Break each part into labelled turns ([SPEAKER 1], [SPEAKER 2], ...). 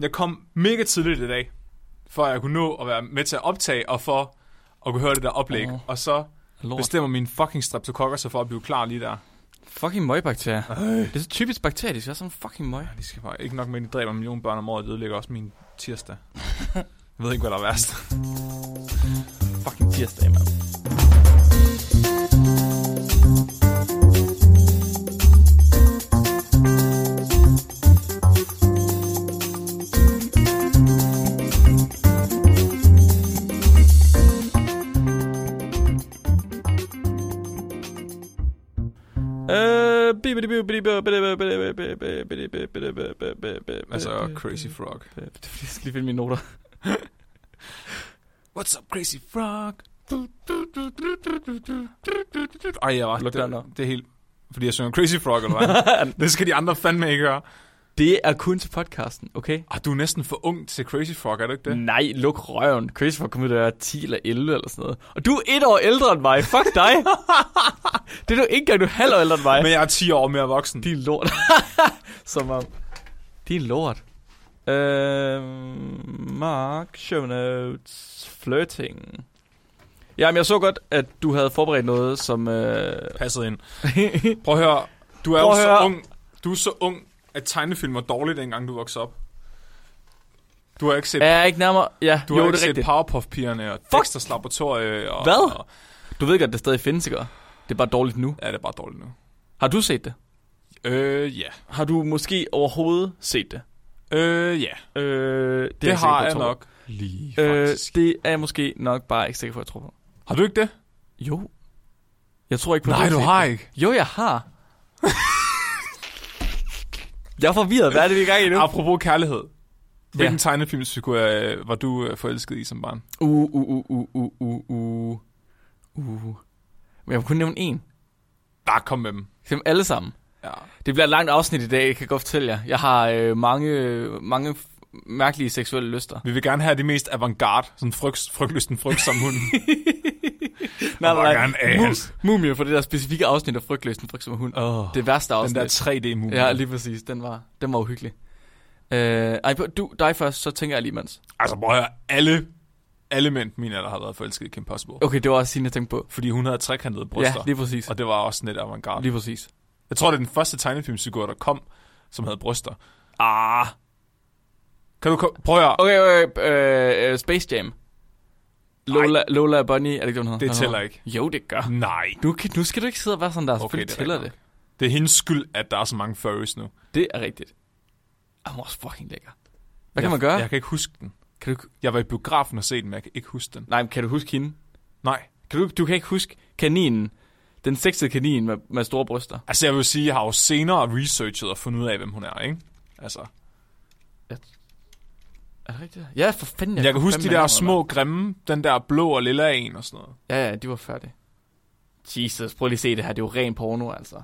[SPEAKER 1] Jeg kom mega tidligt i dag, for at jeg kunne nå at være med til at optage, og for at kunne høre det der oplæg.
[SPEAKER 2] Åh.
[SPEAKER 1] Og så
[SPEAKER 2] Lort.
[SPEAKER 1] bestemmer min fucking streptokokker sig for at blive klar lige der.
[SPEAKER 2] Fucking møgbakterier. Det er så typisk bakterier, de skal være sådan fucking møg.
[SPEAKER 1] De skal bare ikke nok med, at de dræber en million børn om året, det ødelægger også min tirsdag. Jeg ved ikke, hvad der er værst.
[SPEAKER 2] Fucking tirsdag, mand.
[SPEAKER 1] Altså, Crazy Frog.
[SPEAKER 2] Det er fordi, jeg skal lige finde mine noter.
[SPEAKER 1] What's up, Crazy Frog? Ej, jeg var...
[SPEAKER 2] Luk døren op.
[SPEAKER 1] Det, det er helt... Fordi jeg synger Crazy Frog, eller hvad? det skal de andre fandme ikke gøre.
[SPEAKER 2] Det er kun til podcasten, okay?
[SPEAKER 1] Ah, du er næsten for ung til Crazy Frog, er du ikke det?
[SPEAKER 2] Det. Nej, luk røven. Chris var kommet der 10 eller 11 eller sådan noget. Og du er et år ældre end mig. Fuck dig. det er du ikke engang, du er halv år ældre end mig.
[SPEAKER 1] Men jeg er 10 år mere voksen.
[SPEAKER 2] Din lort. Som om. Din lort. Øh, Mark, show notes, flirting. Jamen, jeg så godt, at du havde forberedt noget, som... Øh...
[SPEAKER 1] Passet ind. Prøv at høre. Du er jo
[SPEAKER 2] Prøv at
[SPEAKER 1] så
[SPEAKER 2] høre.
[SPEAKER 1] ung. Du er så ung, at tegnefilm var dårligt, dengang du voksede op. Du har ikke set,
[SPEAKER 2] er jeg ikke nærmere... Ja,
[SPEAKER 1] du
[SPEAKER 2] jo,
[SPEAKER 1] har ikke
[SPEAKER 2] det er
[SPEAKER 1] set
[SPEAKER 2] rigtigt.
[SPEAKER 1] Powerpuff-pigerne og Dexter's Laboratorie. Og,
[SPEAKER 2] Hvad?
[SPEAKER 1] Og,
[SPEAKER 2] Du ved godt, det stadig findes, ikke? Det er bare dårligt nu.
[SPEAKER 1] ja, det er bare dårligt nu.
[SPEAKER 2] Har du set det?
[SPEAKER 1] Øh, ja.
[SPEAKER 2] Har du måske overhovedet set det?
[SPEAKER 1] Øh, ja.
[SPEAKER 2] Øh, det, er
[SPEAKER 1] Det, det
[SPEAKER 2] sikker på,
[SPEAKER 1] har jeg
[SPEAKER 2] tror.
[SPEAKER 1] nok. Lige,
[SPEAKER 2] Øh, det er jeg måske nok bare ikke sikker på, jeg tror på.
[SPEAKER 1] Har du ikke det?
[SPEAKER 2] Jo. Jeg tror ikke på,
[SPEAKER 1] Nej,
[SPEAKER 2] har
[SPEAKER 1] du
[SPEAKER 2] set
[SPEAKER 1] har
[SPEAKER 2] det.
[SPEAKER 1] ikke.
[SPEAKER 2] Jo, jeg har. jeg er forvirret. Hvad er det, vi er i gang i nu?
[SPEAKER 1] Apropos kærlighed. Hvilken ja. tegnefilm øh, var du øh, forelsket i som barn?
[SPEAKER 2] Uh, uh, uh, uh, uh, uh, uh, uh. Men jeg må kun nævne en.
[SPEAKER 1] Bare kom med dem.
[SPEAKER 2] Dem alle sammen.
[SPEAKER 1] Ja.
[SPEAKER 2] Det bliver et langt afsnit i dag, jeg kan godt fortælle jer. Jeg har øh, mange, øh, mange f- mærkelige seksuelle lyster.
[SPEAKER 1] Vi vil gerne have de mest avantgarde, sådan frygt, frygtlysten, frygtsomme hund.
[SPEAKER 2] Nej,
[SPEAKER 1] nej, nej. Mus-
[SPEAKER 2] Mumie for det der specifikke afsnit af Frygtløsen, for eksempel hund.
[SPEAKER 1] oh,
[SPEAKER 2] Det værste
[SPEAKER 1] den
[SPEAKER 2] afsnit.
[SPEAKER 1] der 3D-mumie.
[SPEAKER 2] Ja, lige præcis. Den var, den var uhyggelig. Øh, ej, du, dig først, så tænker jeg lige mens.
[SPEAKER 1] Altså, prøv at høre, alle, alle mænd på min alder har været forelsket i Kim Possible. Okay.
[SPEAKER 2] Okay, det var også sin, jeg tænkte på.
[SPEAKER 1] Fordi hun havde trekantede
[SPEAKER 2] Ja,
[SPEAKER 1] bryster. Ja,
[SPEAKER 2] lige præcis.
[SPEAKER 1] og det var også net avantgarde.
[SPEAKER 2] Lige præcis.
[SPEAKER 1] Jeg tror, det er den første tegnefilmsfigur, der kom, som havde bryster.
[SPEAKER 2] Ah.
[SPEAKER 1] Kan du ko- prøv at høre,
[SPEAKER 2] Okay, okay, øh, øh, Space Jam. Lola, Lola og Bunny, er det ikke, hvad hun hedder?
[SPEAKER 1] det tæller ikke.
[SPEAKER 2] Jo, det gør.
[SPEAKER 1] Nej.
[SPEAKER 2] Du, kan, nu skal du ikke sidde og være sådan der. Okay, Selvfølgelig
[SPEAKER 1] det er
[SPEAKER 2] tæller
[SPEAKER 1] rigtigt
[SPEAKER 2] det.
[SPEAKER 1] Det er hendes skyld, at der er så mange furries nu.
[SPEAKER 2] Det er rigtigt. Ah, hun er også fucking lækker. Hvad kan
[SPEAKER 1] jeg,
[SPEAKER 2] man gøre?
[SPEAKER 1] Jeg kan ikke huske den.
[SPEAKER 2] Kan du,
[SPEAKER 1] Jeg var i biografen og set den, men jeg kan ikke huske den.
[SPEAKER 2] nej, men kan du huske hende?
[SPEAKER 1] Nej.
[SPEAKER 2] Kan du, du kan ikke huske kaninen. Den sexede kanin med, med store bryster.
[SPEAKER 1] Altså, jeg vil sige, jeg har jo senere researchet og fundet ud af, hvem hun er, ikke? Altså,
[SPEAKER 2] Er det rigtigt? Ja, for fanden.
[SPEAKER 1] jeg kan
[SPEAKER 2] kunne
[SPEAKER 1] huske de
[SPEAKER 2] fandme
[SPEAKER 1] der
[SPEAKER 2] navnet, mand.
[SPEAKER 1] små grimme, den der blå og lilla en og sådan noget.
[SPEAKER 2] Ja, ja, de var færdige. Jesus, prøv lige at se det her. Det er jo ren porno, altså.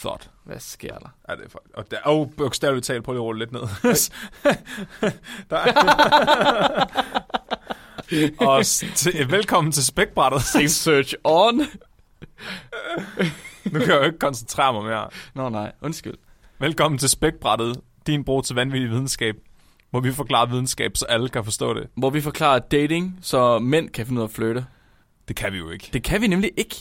[SPEAKER 1] Thought.
[SPEAKER 2] Hvad sker der?
[SPEAKER 1] Ja, det er for... Og der... Oh, bogstaveligt talt, prøv lige at rulle lidt ned. der... og s- til... velkommen til spækbrættet.
[SPEAKER 2] Sex search on.
[SPEAKER 1] Nu kan jeg jo ikke koncentrere mig mere.
[SPEAKER 2] Nå nej, undskyld.
[SPEAKER 1] Velkommen til spækbrættet, din bro til vanvittig videnskab, hvor vi forklarer videnskab, så alle kan forstå det.
[SPEAKER 2] Hvor vi forklarer dating, så mænd kan finde ud af at flytte.
[SPEAKER 1] Det kan vi jo ikke.
[SPEAKER 2] Det kan vi nemlig ikke.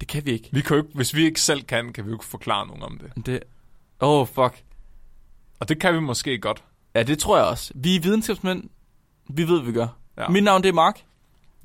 [SPEAKER 2] Det kan vi ikke.
[SPEAKER 1] Vi kan jo ikke, hvis vi ikke selv kan, kan vi jo ikke forklare nogen om det.
[SPEAKER 2] Men Det... Åh, oh, fuck.
[SPEAKER 1] Og det kan vi måske godt.
[SPEAKER 2] Ja, det tror jeg også. Vi er videnskabsmænd. Vi ved, hvad vi gør.
[SPEAKER 1] Ja.
[SPEAKER 2] Ja. Mit navn det er Mark,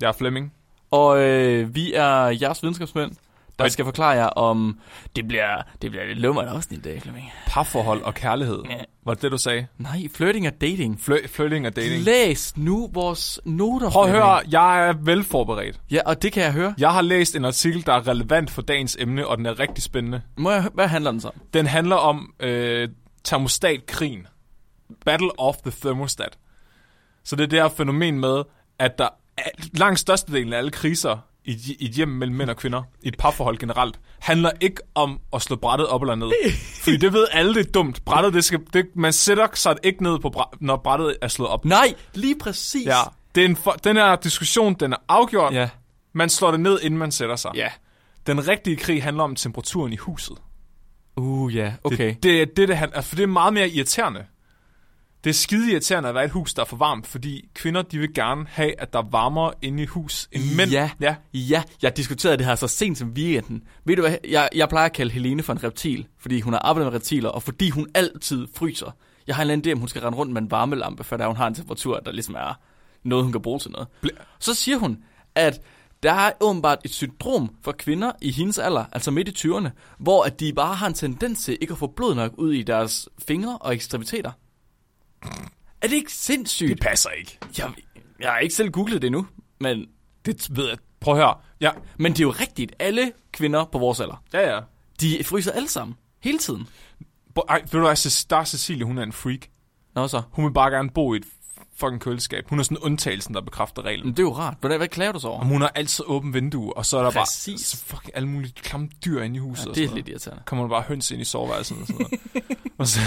[SPEAKER 1] Jeg er Flemming.
[SPEAKER 2] og øh, vi er jeres videnskabsmænd, der
[SPEAKER 1] Og-
[SPEAKER 2] skal forklare jer om... Det bliver, det bliver lidt lummert afsnit i dag, Flemming.
[SPEAKER 1] Parforhold og kærlighed.
[SPEAKER 2] Ja.
[SPEAKER 1] Var det det, du sagde?
[SPEAKER 2] Nej, flirting og dating.
[SPEAKER 1] Flø- flirting og dating.
[SPEAKER 2] Læs nu vores noter.
[SPEAKER 1] Prøv at
[SPEAKER 2] Flemming.
[SPEAKER 1] høre, jeg er velforberedt.
[SPEAKER 2] Ja, og det kan jeg høre.
[SPEAKER 1] Jeg har læst en artikel, der er relevant for dagens emne, og den er rigtig spændende.
[SPEAKER 2] Må jeg, hvad handler den så om?
[SPEAKER 1] Den handler om øh, termostatkrigen. Battle of the thermostat. Så det er det her fænomen med, at der er, langt størstedelen af alle kriser i, et- i et hjem mellem mænd og kvinder, i et parforhold generelt, handler ikke om at slå brættet op eller ned. Fordi det ved alle, det er dumt. Brættet, det skal, det, man sætter sig ikke ned, på bræ, når brættet er slået op.
[SPEAKER 2] Nej, lige præcis.
[SPEAKER 1] Ja. Det er en for, den her diskussion, den er afgjort.
[SPEAKER 2] Ja.
[SPEAKER 1] Man slår det ned, inden man sætter sig.
[SPEAKER 2] Ja.
[SPEAKER 1] Den rigtige krig handler om temperaturen i huset.
[SPEAKER 2] Uh, ja, okay.
[SPEAKER 1] Det, det, er det, det, han, altså, for det er meget mere irriterende. Det er skide irriterende at være i et hus, der er for varmt, fordi kvinder de vil gerne have, at der er varmere inde i hus end mænd.
[SPEAKER 2] Ja.
[SPEAKER 1] ja.
[SPEAKER 2] Ja, jeg diskuterede det her så sent som weekenden. Ved du hvad, jeg, jeg plejer at kalde Helene for en reptil, fordi hun har arbejdet med reptiler, og fordi hun altid fryser. Jeg har en eller anden idé, om hun skal rende rundt med en varmelampe, for der hun har en temperatur, der ligesom er noget, hun kan bruge til noget. Så siger hun, at der er åbenbart et syndrom for kvinder i hendes alder, altså midt i 20'erne, hvor at de bare har en tendens til ikke at få blod nok ud i deres fingre og ekstremiteter. Er det ikke
[SPEAKER 1] Det
[SPEAKER 2] sindssygt?
[SPEAKER 1] passer ikke.
[SPEAKER 2] Jeg, jeg har ikke selv googlet det endnu, men
[SPEAKER 1] Det ved jeg. Prøv at høre. Ja,
[SPEAKER 2] men det er jo rigtigt. Alle kvinder på vores alder,
[SPEAKER 1] ja, ja.
[SPEAKER 2] de fryser alle sammen. Hele tiden.
[SPEAKER 1] Bo- Ej, ved du hvad, Ce- der er Cecilie, hun er en freak.
[SPEAKER 2] Nå så.
[SPEAKER 1] Hun vil bare gerne bo i et fucking køleskab. Hun er sådan undtagelsen, der bekræfter reglen.
[SPEAKER 2] Men det er jo rart. Hvordan, hvad klager du så over?
[SPEAKER 1] Og hun har altid åbent vindue, og så er der
[SPEAKER 2] Præcis.
[SPEAKER 1] bare så fucking alle mulige klamme dyr inde i huset.
[SPEAKER 2] Ja,
[SPEAKER 1] og
[SPEAKER 2] det
[SPEAKER 1] sådan
[SPEAKER 2] er
[SPEAKER 1] noget.
[SPEAKER 2] lidt irriterende.
[SPEAKER 1] kommer der bare høns ind i soveværelset og sådan noget. og så,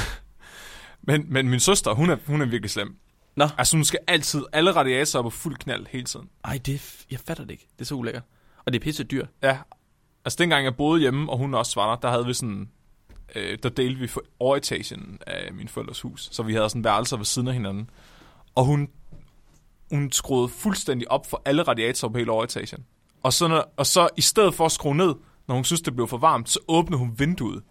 [SPEAKER 1] men, men min søster, hun er, hun er virkelig slem.
[SPEAKER 2] Nå.
[SPEAKER 1] Altså, hun skal altid, alle radiatorer er på fuld knald hele tiden.
[SPEAKER 2] Ej, det er f- jeg fatter det ikke. Det er så ulækkert. Og det er pisse dyrt.
[SPEAKER 1] Ja, altså dengang jeg boede hjemme, og hun også var der, der havde vi sådan, øh, der delte vi for overetagen af min forældres hus. Så vi havde sådan værelser ved siden af hinanden. Og hun, hun skruede fuldstændig op for alle radiatorer på hele overetagen. Og så, når, og så i stedet for at skrue ned, når hun synes, det blev for varmt, så åbnede hun vinduet.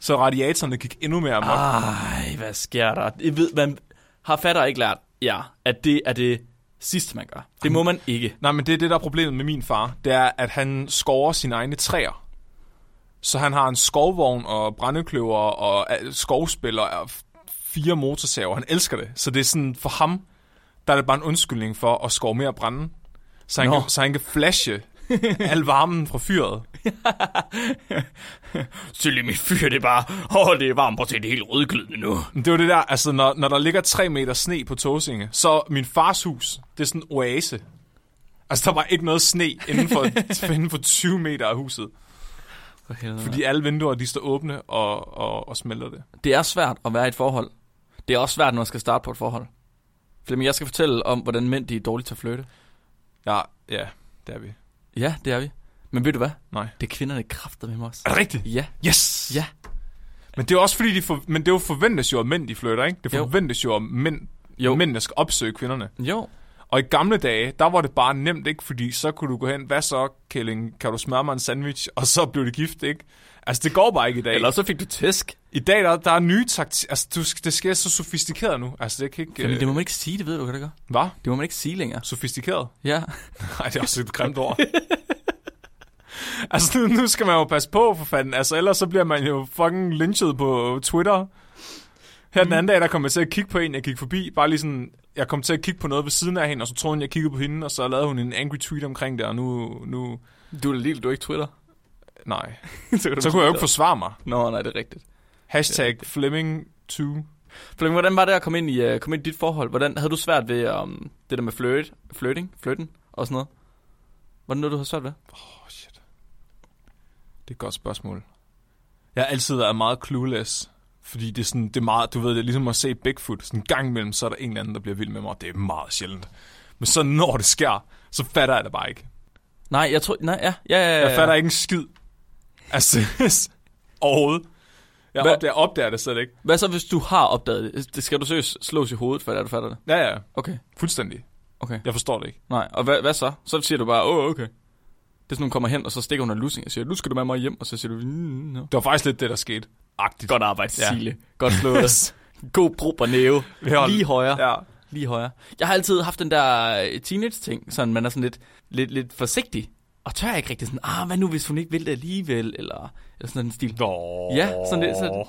[SPEAKER 1] Så radiatorerne gik endnu mere amok.
[SPEAKER 2] Ej, hvad sker der? Jeg ved, man har fatter ikke lært, ja, at det er det sidste, man gør. Det må man ikke.
[SPEAKER 1] Nej, men det er det, der er problemet med min far. Det er, at han skover sine egne træer. Så han har en skovvogn og brændekløver og øh, skovspiller og f- fire motorsaver. Han elsker det. Så det er sådan, for ham, der er det bare en undskyldning for at skove mere brænde. Så han,
[SPEAKER 2] Nå.
[SPEAKER 1] kan, så han kan flashe al varmen fra fyret.
[SPEAKER 2] Selv mit fyr, det er bare, åh, oh, det er varmt, prøv at se, det er helt rødglødende nu.
[SPEAKER 1] Men det er jo det der, altså når, når der ligger 3 meter sne på Tåsinge, så min fars hus, det er sådan en oase. Altså der var ikke noget sne inden for, inden for 20 meter af huset.
[SPEAKER 2] Fordi
[SPEAKER 1] Fordi alle vinduer, de står åbne og, og, og smelter det.
[SPEAKER 2] det er svært at være i et forhold. Det er også svært, når man skal starte på et forhold. Flemming, jeg skal fortælle om, hvordan mænd de er dårlige til at flytte.
[SPEAKER 1] Ja, ja, det er vi.
[SPEAKER 2] Ja, det er vi. Men ved du hvad?
[SPEAKER 1] Nej.
[SPEAKER 2] Det er kvinderne kræfter med mig også.
[SPEAKER 1] Er det rigtigt?
[SPEAKER 2] Ja,
[SPEAKER 1] Yes!
[SPEAKER 2] ja.
[SPEAKER 1] Men det er også fordi, de for, men det er jo forventes jo, at mænd de flytter, ikke? Det
[SPEAKER 2] Jo.
[SPEAKER 1] forventes jo, at mænd,
[SPEAKER 2] Jo.
[SPEAKER 1] jo. mændene skal opsøge kvinderne.
[SPEAKER 2] Jo.
[SPEAKER 1] Og i gamle dage, der var det bare nemt, ikke? Fordi så kunne du gå hen, hvad så, Kælling, kan du smøre mig en sandwich? Og så blev det gift, ikke? Altså, det går bare ikke i dag.
[SPEAKER 2] Eller så fik du tæsk.
[SPEAKER 1] I dag, der, der er nye taktik. Altså, du, skal- det sker så sofistikeret nu. Altså, det kan ikke...
[SPEAKER 2] Jamen,
[SPEAKER 1] Øh,
[SPEAKER 2] det må man ikke sige, det ved du, kan det gøre?
[SPEAKER 1] hvad?
[SPEAKER 2] Det må man ikke sige længere.
[SPEAKER 1] Sofistikeret?
[SPEAKER 2] Ja.
[SPEAKER 1] Nej, det er også et grimt ord. altså, nu, nu skal man jo passe på, for fanden. Altså, ellers så bliver man jo fucking lynchet på Twitter. Her den anden dag, der kom jeg til at kigge på en, jeg gik forbi. Bare lige sådan, jeg kom til at kigge på noget ved siden af hende, og så troede hun, jeg kiggede på hende, og så lavede hun en angry tweet omkring det, og nu... nu
[SPEAKER 2] Du er lille, du er ikke Twitter.
[SPEAKER 1] nej.
[SPEAKER 2] så, kan du
[SPEAKER 1] Så kunne jeg jo ikke forsvare mig.
[SPEAKER 2] Nå, nej, det er rigtigt.
[SPEAKER 1] Hashtag Flemming2.
[SPEAKER 2] Flemming, hvordan var det at komme ind i, uh, komme ind i dit forhold? Hvordan havde du svært ved um, det der med flirt, flirting, flirten og sådan noget? Hvordan noget, du havde svært ved?
[SPEAKER 1] Åh, oh, shit. Det er et godt spørgsmål. Jeg har altid været meget clueless, fordi det er, sådan, det er meget, du ved, det er ligesom at se Bigfoot. Sådan en gang imellem, så er der en eller anden, der bliver vild med mig, og det er meget sjældent. Men så når det sker, så fatter jeg det bare ikke.
[SPEAKER 2] Nej, jeg tror... Nej, ja, ja, ja, ja.
[SPEAKER 1] Jeg fatter ikke en skid. Altså, overhovedet. Jeg
[SPEAKER 2] Hvad-
[SPEAKER 1] opdager, opdager det slet ikke.
[SPEAKER 2] Hvad så, hvis du har opdaget det? det? Skal du seriøst slås i hovedet, før det er, du fatter det?
[SPEAKER 1] Ja, ja,
[SPEAKER 2] Okay,
[SPEAKER 1] fuldstændig.
[SPEAKER 2] okay.
[SPEAKER 1] Jeg forstår det ikke.
[SPEAKER 2] Nej, og hvad, hvad så? Så siger du bare, åh, okay. Det er sådan, hun kommer hen, og så stikker hun en lussing og siger, nu skal du med mig hjem, og så siger du, mm, no.
[SPEAKER 1] Det var faktisk lidt det, der skete. Agtigt.
[SPEAKER 2] Godt arbejde,
[SPEAKER 1] Ja.
[SPEAKER 2] Cecilie. Ja. Godt slået. God brug og næve.
[SPEAKER 1] Ja.
[SPEAKER 2] Lige højere. Ja.
[SPEAKER 1] Ja.
[SPEAKER 2] Lige højere. Jeg har altid haft den der øh, teenage-ting, sådan man er sådan lidt, lidt, lidt forsigtig. Og tør ikke rigtig sådan, ah, hvad nu, hvis hun ikke vil det alligevel, eller, eller sådan en stil.
[SPEAKER 1] Nå.
[SPEAKER 2] Ja, sådan lidt sådan-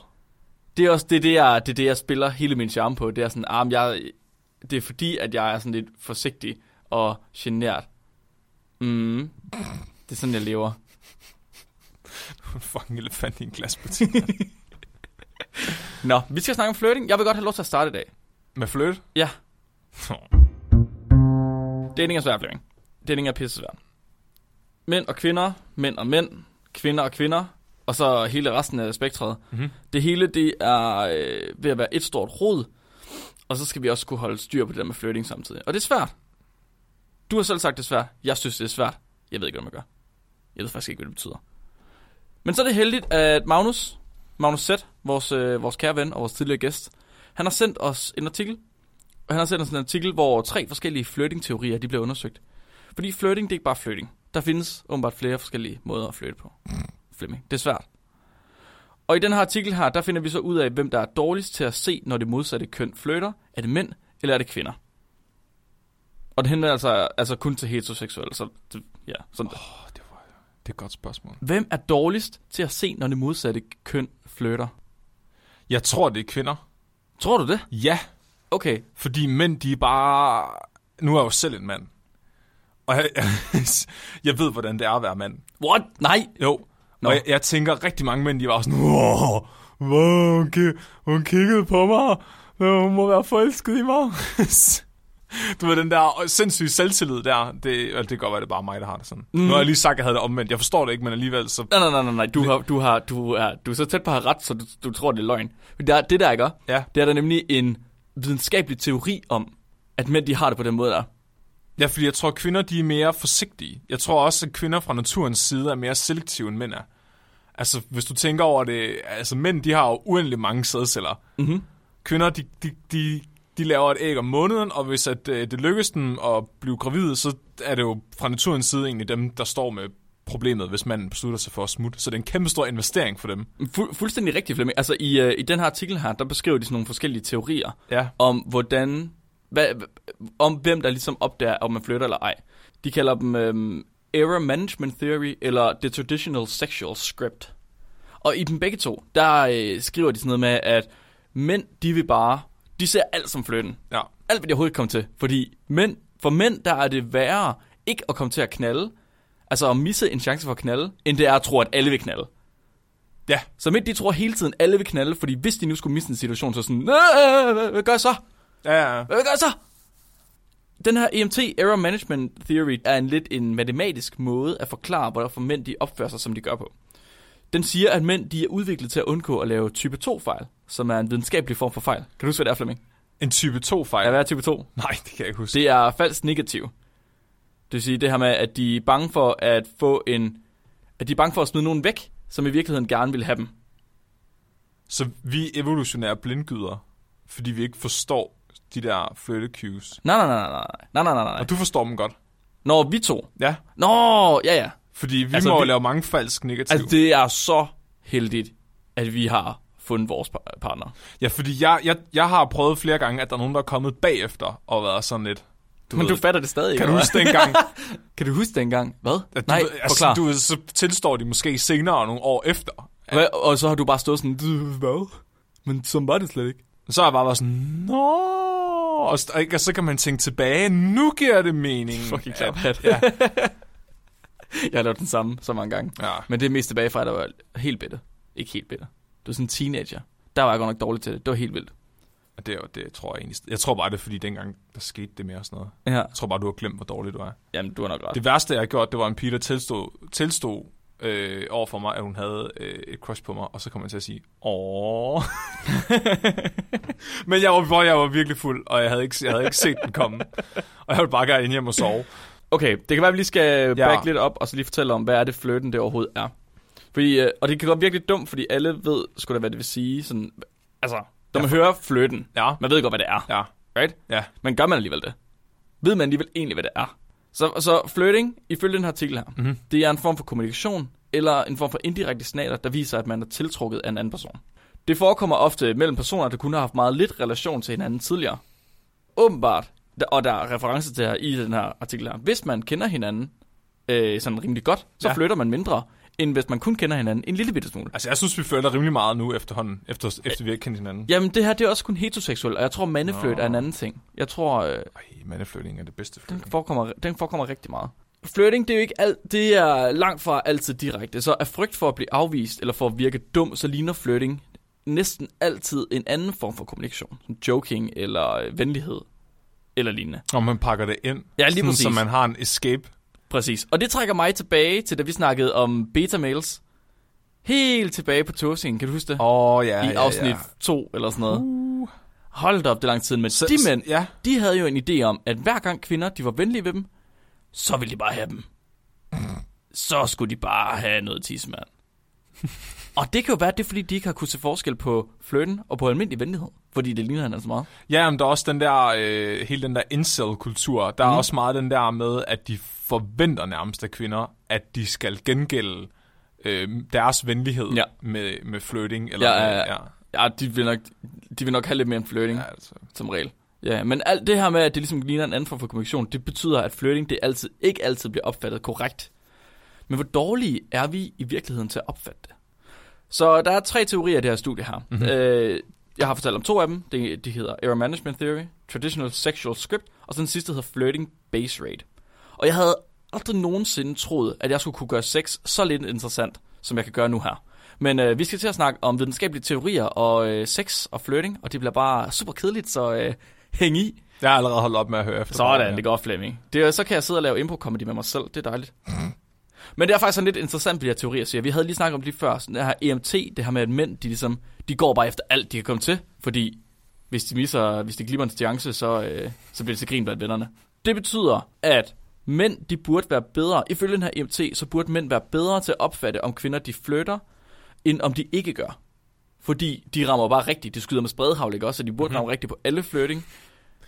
[SPEAKER 2] Det er også det, er det, jeg, det, er det, jeg spiller hele min charme på. Det er sådan, ah, men jeg, det er fordi, at jeg er sådan lidt forsigtig og genert. Mm. Det er sådan, jeg lever.
[SPEAKER 1] Fucking elefant i en glasbutik.
[SPEAKER 2] Nå, vi skal snakke om flirting. Jeg vil godt have lov til at starte i dag.
[SPEAKER 1] Med fløjt?
[SPEAKER 2] Ja. Dating er svært, Flemming. Dating er pisse svært. Mænd og kvinder, mænd og mænd, kvinder og kvinder, og så hele resten af spektret.
[SPEAKER 1] Mhm.
[SPEAKER 2] Det hele, det er øh, ved at være et stort rod, og så skal vi også kunne holde styr på det der med flirting samtidig. Og det er svært. Du har selv sagt, det er svært. Jeg synes, det er svært. Jeg ved ikke, hvad man gør. Jeg ved faktisk ikke, hvad det betyder. Men så er det heldigt, at Magnus, Magnus Z, vores, øh, vores kære ven og vores tidligere gæst, Han har sendt os en artikel. Og han har sendt os en artikel, hvor tre forskellige flirting-teorier, de bliver undersøgt. Fordi flirting, det er ikke bare flirting. Der findes åbenbart flere forskellige måder at flirte på. Flemming, det er svært. Og i den her artikel her, der finder vi så ud af, hvem der er dårligst til at se, når det modsatte køn flytter. Er det mænd, eller er det kvinder? Og det handler altså, altså kun til heteroseksuelle, så det, ja, sådan oh.
[SPEAKER 1] Åh, det var det er et godt spørgsmål.
[SPEAKER 2] Hvem er dårligst til at se, når det modsatte køn flytter?
[SPEAKER 1] Jeg tror, det er kvinder.
[SPEAKER 2] Tror du det?
[SPEAKER 1] Ja,
[SPEAKER 2] Okay,
[SPEAKER 1] fordi mænd, de er bare... Nu er jeg jo selv en mand. Og jeg, jeg ved, hvordan det er at være mand.
[SPEAKER 2] What? Nej.
[SPEAKER 1] Jo.
[SPEAKER 2] Nå.
[SPEAKER 1] Nå. Og jeg, jeg tænker rigtig mange mænd, de var sådan, wow, wow hun, ki- hun kiggede på mig, men hun må være forelsket i mig. du ved, den der sindssyge selvtillid der, det, og det kan godt være, det er bare mig, der har det sådan. Mm. Nu har jeg lige sagt, at jeg havde det omvendt. Jeg forstår det ikke, men alligevel så...
[SPEAKER 2] Nej, nej, nej, nej, nej. Du, har, du, har, du, er, du er så tæt på at have ret, så du, du tror, det er løgn. Men Der, det der, jeg gør,
[SPEAKER 1] Ja,
[SPEAKER 2] det er der nemlig en videnskabelig teori om, at mænd, de har det på den måde der.
[SPEAKER 1] ja fordi jeg tror, at kvinder de er mere forsigtige. Jeg tror også, at kvinder fra naturens side er mere selektive, end mænd er. Altså, hvis du tænker over det, altså mænd, de har jo uendelig mange sædceller.
[SPEAKER 2] Mm-hmm.
[SPEAKER 1] kvinder, de, de, de, de laver et æg om måneden, og hvis at, øh, det lykkes dem at blive gravide, så er det jo fra naturens side egentlig dem, der står med problemet, hvis manden beslutter sig for at smutte. Så det er en kæmpe stor investering for dem.
[SPEAKER 2] Fu- fuldstændig rigtigt, Flemming. Altså, i, øh, i den her artikel her, der beskriver de sådan nogle forskellige teorier
[SPEAKER 1] Ja.
[SPEAKER 2] om, hvordan... Hvad, om hvem, der ligesom opdager, om man flytter eller ej. De kalder dem øhm, Error Management Theory, eller The Traditional Sexual Script. Og i dem begge to, der øh, skriver de sådan noget med, at mænd, de vil bare... De ser alt som flytten.
[SPEAKER 1] Ja.
[SPEAKER 2] alt hvad de overhovedet kom til. Fordi mænd, for mænd, der er det værre ikke at komme til at knalde, altså at misse en chance for at knalde, end det er at tro, at alle vil knalde.
[SPEAKER 1] Ja.
[SPEAKER 2] Så mænd, de tror hele tiden, alle vil knalde, fordi hvis de nu skulle miste en situation, så sådan, "Øh, øh, hvad, hvad gør jeg så?
[SPEAKER 1] Ja, ja.
[SPEAKER 2] Hvad gør jeg så? Den her EMT, Error Management Theory, er en lidt en matematisk måde at forklare, hvorfor mænd de opfører sig, som de gør på. Den siger, at mænd de er udviklet til at undgå at lave type 2-fejl, som er en videnskabelig form for fejl. Kan du huske, hvad det er, Flemming?
[SPEAKER 1] En type 2-fejl.
[SPEAKER 2] Ja,
[SPEAKER 1] Ja,
[SPEAKER 2] hvad er type 2?
[SPEAKER 1] Nej, det kan jeg ikke huske.
[SPEAKER 2] Det er falsk negativ. Det vil sige det her med, at de er bange for at få en... At de er bange for at smide nogen væk, som i virkeligheden gerne vil have dem.
[SPEAKER 1] Så vi evolutionære blindgyder, fordi vi ikke forstår de der flytte cues.
[SPEAKER 2] Nej, nej, nej, nej, nej, nej, nej, nej, nej.
[SPEAKER 1] Og du forstår dem godt.
[SPEAKER 2] Når vi to...
[SPEAKER 1] Ja.
[SPEAKER 2] Nå, ja, ja.
[SPEAKER 1] Fordi vi
[SPEAKER 2] Altså,
[SPEAKER 1] altså, må jo
[SPEAKER 2] vi-
[SPEAKER 1] lave mange falsk negative.
[SPEAKER 2] Altså, det er så heldigt, at vi har fundet vores par- partner.
[SPEAKER 1] Ja, fordi jeg, jeg, jeg har prøvet flere gange, at der er nogen, der er kommet bagefter og været sådan lidt...
[SPEAKER 2] Du Men
[SPEAKER 1] ved-
[SPEAKER 2] du fatter det stadig,
[SPEAKER 1] Kan du
[SPEAKER 2] eller
[SPEAKER 1] huske dengang,
[SPEAKER 2] hvad? kan du huske dengang? Hvad?
[SPEAKER 1] At du,
[SPEAKER 2] nej,
[SPEAKER 1] ved- altså,
[SPEAKER 2] forklar.
[SPEAKER 1] du, ved, så tilstår de måske senere nogle år efter.
[SPEAKER 2] Hvad? Og så har du bare stået sådan... "Du, Hvad? Men sådan var det slet ikke.
[SPEAKER 1] Så har jeg bare været sådan, nå, og, s- og, ikke- og så kan man tænke tilbage, nu giver det mening.
[SPEAKER 2] Fucking
[SPEAKER 1] at-
[SPEAKER 2] klaphat.
[SPEAKER 1] Ja,
[SPEAKER 2] Jeg har lavet den samme så mange gange.
[SPEAKER 1] ja.
[SPEAKER 2] Men det er mest tilbage fra, at jeg var helt bitter. Ikke helt bitter. Du var sådan en teenager. Der var jeg godt nok dårlig til det. Det var helt vildt.
[SPEAKER 1] Og det, er jo- det tror jeg egentlig. Jeg tror bare, det er fordi, dengang der skete det mere og sådan noget.
[SPEAKER 2] Ja.
[SPEAKER 1] Jeg tror bare, du har glemt, hvor dårlig du er.
[SPEAKER 2] Jamen, du har nok ret.
[SPEAKER 1] Det værste, jeg har gjort, det var en pige, der tilstod, tilstod øh, over for mig, at hun havde øh, et crush på mig, og så kom jeg til at sige, åh. Men jeg var, hvor jeg var virkelig fuld, og jeg havde ikke, jeg havde ikke set den komme. Og jeg ville bare gerne ind hjem og sove.
[SPEAKER 2] Okay, det kan være, at vi lige skal
[SPEAKER 1] Ja.
[SPEAKER 2] back lidt op, og så lige fortælle om, hvad er det flirten det overhovedet er. Fordi, øh, og det kan godt virke lidt dumt, fordi alle ved sgu da, hvad det vil sige. Sådan, altså, når man hører flirten,
[SPEAKER 1] Ja,
[SPEAKER 2] man ved godt, hvad det er.
[SPEAKER 1] ja.
[SPEAKER 2] Right?
[SPEAKER 1] Ja.
[SPEAKER 2] Men gør man alligevel det? Ved man alligevel egentlig, hvad det er? Så, så flirting, ifølge den her artikel her,
[SPEAKER 1] Mhm.
[SPEAKER 2] det er en form for kommunikation, eller en form for indirekte signaler, der viser, at man er tiltrukket af en anden person. Det forekommer ofte mellem personer, der kun har haft meget lidt relation til hinanden tidligere. Åbenbart, der- og der er reference til her i den her artikel her, hvis man kender hinanden øh, sådan rimelig godt, så ja.
[SPEAKER 1] Ja.
[SPEAKER 2] flytter man mindre, end hvis man kun kender hinanden en lille bitte smule.
[SPEAKER 1] Altså, jeg synes, vi føler rimelig meget nu efterhånden, efter, efter vi har kendt hinanden.
[SPEAKER 2] Jamen, det her det er også kun heteroseksuelt, og jeg tror, mandefløjt
[SPEAKER 1] Nå.
[SPEAKER 2] er en anden ting. Jeg tror, øh,
[SPEAKER 1] Ej, mandeflytning er det bedste
[SPEAKER 2] Den
[SPEAKER 1] flytning.
[SPEAKER 2] forekommer, den forekommer rigtig meget. Flirting, det er jo ikke alt, det er langt fra altid direkte. Så af frygt for at blive afvist eller for at virke dum, så ligner flirting næsten altid en anden form for kommunikation. Som joking eller øh, venlighed eller lignende.
[SPEAKER 1] Og man pakker det ind,
[SPEAKER 2] Ja, lige
[SPEAKER 1] sådan,
[SPEAKER 2] præcis.
[SPEAKER 1] så man har en escape.
[SPEAKER 2] Præcis. Og det trækker mig tilbage til, da vi snakkede om beta-mails. Helt tilbage på togsingen, kan du huske det?
[SPEAKER 1] Åh, oh, ja,
[SPEAKER 2] I afsnit 2 eller sådan noget.
[SPEAKER 1] Uh.
[SPEAKER 2] Hold da op, det er lang tid. Men
[SPEAKER 1] Så,
[SPEAKER 2] de mænd,
[SPEAKER 1] Ja,
[SPEAKER 2] de havde jo en idé om, at hver gang kvinder de var venlige ved dem, så ville de bare have dem. Så skulle de bare have noget tis, mand. Og det kan jo være, at det er, fordi de ikke har kunnet se forskel på flirten og på almindelig venlighed. Fordi det ligner hinanden så meget.
[SPEAKER 1] Ja, men der er også den der, øh, hele den der incel-kultur. Der er
[SPEAKER 2] Mhm.
[SPEAKER 1] også meget den der med, at de forventer nærmest af kvinder, at de skal gengælde øh, deres venlighed
[SPEAKER 2] Ja.
[SPEAKER 1] med, med flirting. Eller
[SPEAKER 2] Ja, ja,
[SPEAKER 1] med-
[SPEAKER 2] ja. Ja, de vil nok, de vil nok have lidt mere end flirting, ja.
[SPEAKER 1] ja altså.
[SPEAKER 2] som regel. Ja, men alt det her med, at det ligesom ligner en anden form for kommunikation, det betyder, at flirting det altid, ikke altid bliver opfattet korrekt. Men hvor dårlige er vi i virkeligheden til at opfatte det? Så der er tre teorier i det her studie her.
[SPEAKER 1] Mhm.
[SPEAKER 2] Mm-hmm. Øh, jeg har fortalt om to af dem. De, de hedder Error Management Theory, Traditional Sexual Script, og så den sidste hedder Flirting Base Rate. Og jeg havde aldrig nogensinde troet, at jeg skulle kunne gøre sex så lidt interessant, som jeg kan gøre nu her. Men øh, vi skal til at snakke om videnskabelige teorier og øh, sex og flirting, og det bliver bare super kedeligt, så øh, hæng i.
[SPEAKER 1] Jeg har allerede holdt op med at høre efter.
[SPEAKER 2] Sådan, det går Flemming. Det, er- så kan jeg sidde og lave impro-comedy med mig selv, det er dejligt. Mm-hmm. Men det er faktisk sådan lidt interessant, de her teorier siger. Vi havde lige snakket om det lige før, sådan det her EMT, det her med, at mænd, de, ligesom, de går bare efter alt, de kan komme til, fordi hvis de misser, hvis de glimmer en chance, så, øh, så bliver det til grin blandt vennerne. Det betyder, at mænd, de burde være bedre, ifølge den her EMT, så burde mænd være bedre til at opfatte, om kvinder, de flytter, end om de ikke gør. Fordi de rammer bare rigtigt. De skyder med spredhavl, ikke også? Så de burde mm-hmm. ramme rigtigt på alle flirting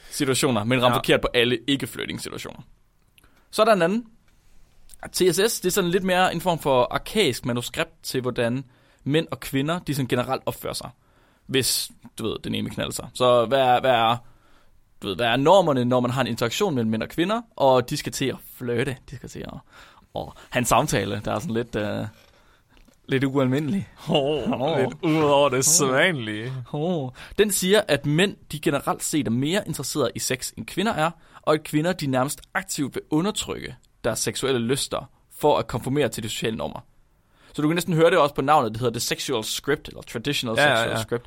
[SPEAKER 2] situationer, men rammer
[SPEAKER 1] Ja.
[SPEAKER 2] ja. forkert på alle ikke flirting situationer. Så er der en anden. TSS, det er sådan lidt mere en form for arkaisk manuskript til, hvordan mænd og kvinder, de sådan generelt opfører sig. Hvis, du ved, den ene knalder sig. Så hvad er, hvad er du ved, hvad er normerne, når man har en interaktion mellem mænd og kvinder, og de skal til at flirte, de skal til at... Og hans samtale, der er sådan lidt, øh, lidt ualmindelig.
[SPEAKER 1] Oh,
[SPEAKER 2] Åh.
[SPEAKER 1] Lidt ud over det sædvanlige.
[SPEAKER 2] Oh. Den siger, at mænd de generelt set er mere interesserede i sex, end kvinder er, og at kvinder de nærmest aktivt vil undertrykke deres seksuelle lyster for at konformere til de sociale normer. Så du kan næsten høre det også på navnet, det hedder The Sexual Script, eller Traditional
[SPEAKER 1] Ja, ja,
[SPEAKER 2] Sexual
[SPEAKER 1] ja.
[SPEAKER 2] Script.